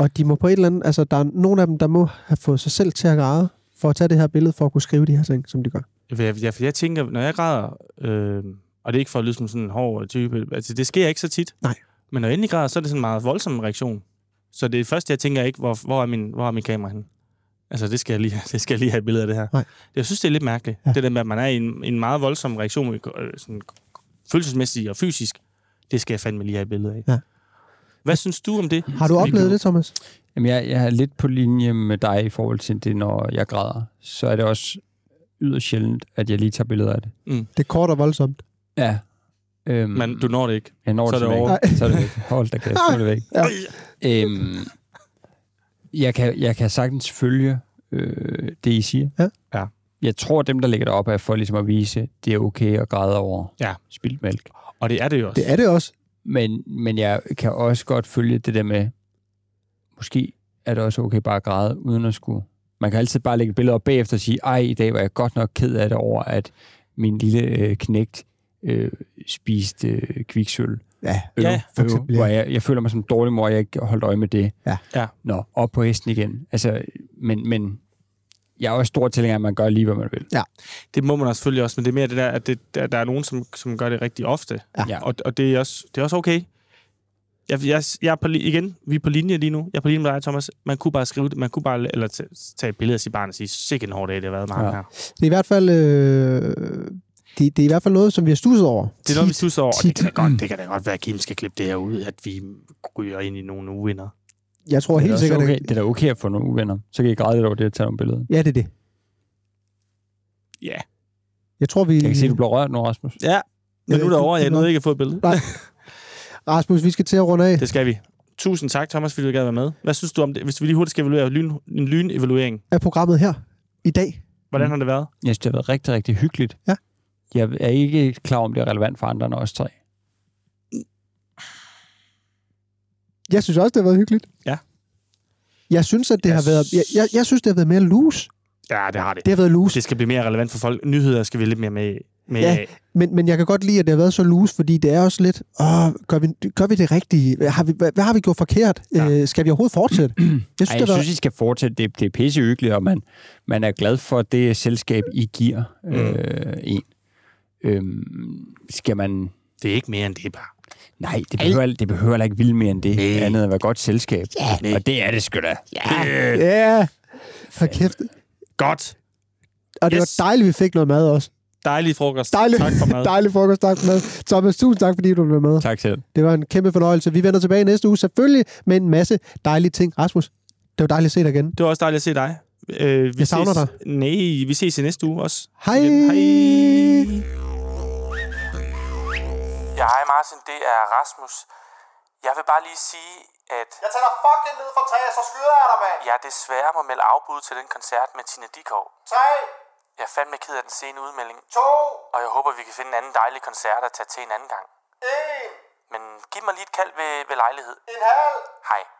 Og de må på et eller andet, altså der er nogle af dem, der må have fået sig selv til at græde, for at tage det her billede, for at kunne skrive de her ting, som de gør. Ja, for jeg, for jeg tænker, når jeg græder, øh, og det er ikke for at lyde som sådan en hård type, altså det sker ikke så tit. Nej. Men når jeg endelig græder, så er det sådan en meget voldsom reaktion. Så det første, jeg tænker ikke, hvor, hvor, er, min, hvor er min kamera henne? Altså, det skal, jeg lige, det skal jeg lige have et billede af det her. Nej. Jeg synes, det er lidt mærkeligt. Ja. Det der med, at man er i en, en meget voldsom reaktion, øh, sådan følelsesmæssigt og fysisk. Det skal jeg fandme lige have et billede af. Ja. Hvad synes du om det? Har du oplevet det, Thomas? Jamen, jeg, jeg er lidt på linje med dig i forhold til det, når jeg græder. Så er det også yderst sjældent, at jeg lige tager billeder af det. Det er kort og voldsomt. Ja. Øhm, Men du når det ikke. jeg når så det, er det simpelthen over. ikke. Så er det væk. Hold da kæft, så er det væk. Ja. Øhm, jeg, kan, jeg kan sagtens følge øh, det, I siger. Ja. Ja. Jeg tror, dem, der ligger deroppe, er for ligesom at vise, det er okay at græde over Ja. spildt mælk. Og det er det jo også. Det er det også. Men, men jeg kan også godt følge det der med, måske er det også okay bare at græde, uden at skulle... Man kan altid bare lægge et billede op bagefter og sige, ej, i dag var jeg godt nok ked af det over, at min lille øh, knægt øh, spiste øh, kviksøl. Ja, Øv, Ja, for eksempel, ja. Hvor jeg, jeg føler mig som en dårlig mor, jeg ikke holdt øje med det. Ja. Ja. Nå, op på hesten igen. Altså, men, men jeg er også stor tilhænger af, at man gør lige, hvad man vil. Det må man også selvfølgelig også, men det er mere det der, at det, der, der er nogen, som, som gør det rigtig ofte. Ja. Og, og det, er også, det er også okay. Jeg, jeg, jeg er på, li- igen, vi er på linje lige nu. Jeg er på linje med dig, Thomas. Man kunne bare skrive det. Man kunne bare la- eller t- tage et billede af sit barn og sige, sikke en hård dag, det har været med ja. Ja. her. Det er i hvert fald... Øh, det, det er i hvert fald noget, som vi har stusset over. Det er noget, vi synes over. og Det tit. kan, da godt, det kan da godt være, at Kim skal klippe det her ud, at vi ryger ind i nogle uvinder. Jeg tror Det er, da helt også sikkert... okay. Okay. det er da okay at få nogle uvenner. Så kan I græde lidt over det og tage nogle billeder. Ja, det er det. Ja. Jeg tror, vi... Jeg kan se, at du bliver rørt nu, Rasmus. Ja, men nu er det over. Jeg nåede ikke at få et billede. Rasmus, vi skal til at runde af. Det skal vi. Tusind tak, Thomas, fordi du gad være med. Hvad synes du om det? Hvis vi lige hurtigt skal evaluere lyn, en lynevaluering. af programmet her i dag. Hvordan har det været? Jeg synes, det har været rigtig, rigtig hyggeligt. Ja. Jeg er ikke klar om, det er relevant for andre end os tre. Jeg synes også, det har været hyggeligt. Ja. Jeg synes, at det Jeg har været... Jeg, jeg, jeg synes, det har været mere loose. Ja, det har det. Det har været loose. Det skal blive mere relevant for folk. Nyheder skal vi lidt mere med, med Ja. ja. Men, men jeg kan godt lide, at det har været så loose, fordi det er også lidt... Åh, gør vi, gør vi det rigtige? Har vi, hvad, hvad har vi gjort forkert? Ja. Ja. Øh, skal vi overhovedet fortsætte? Jeg synes, det Ej, jeg har synes, været... I skal fortsætte. Det, det er pissehyggeligt, og man, man er glad for det selskab, I giver Mm. øh, en. Øhm, skal man... Det er ikke mere end det bare. Nej, det behøver, det behøver heller ikke vildt mere end det. Nej. Andet end at være godt selskab. Ja, og det er det sgu da. Ja, yeah. for kæft. Godt. Og det Yes. var dejligt, vi fik noget mad også. Dejlig frokost. Dejligt, Tak for mad. dejlig frokost, tak for mad. Thomas, tusind tak, fordi du blev med. Tak selv. Det var en kæmpe fornøjelse. Vi vender tilbage næste uge, selvfølgelig, med en masse dejlige ting. Rasmus, det var dejligt at se dig igen. Det var også dejligt at se dig. Øh, vi Jeg savner ses. dig. Nej, vi ses i næste uge også. Hej! Igen. Hej. Ja, hej Martin, det er Rasmus. Jeg vil bare lige sige, at Jeg tager dig fucking ned fra træet, så skyder jeg dig, mand! jeg desværre må melde afbud til den koncert med Tina Dikov. 3, Jeg er fandme ked af den sene udmelding, 2, og jeg håber, vi kan finde en anden dejlig koncert at tage til en anden gang. 1, Men giv mig lige et kald ved, ved lejlighed. en halv! Hej.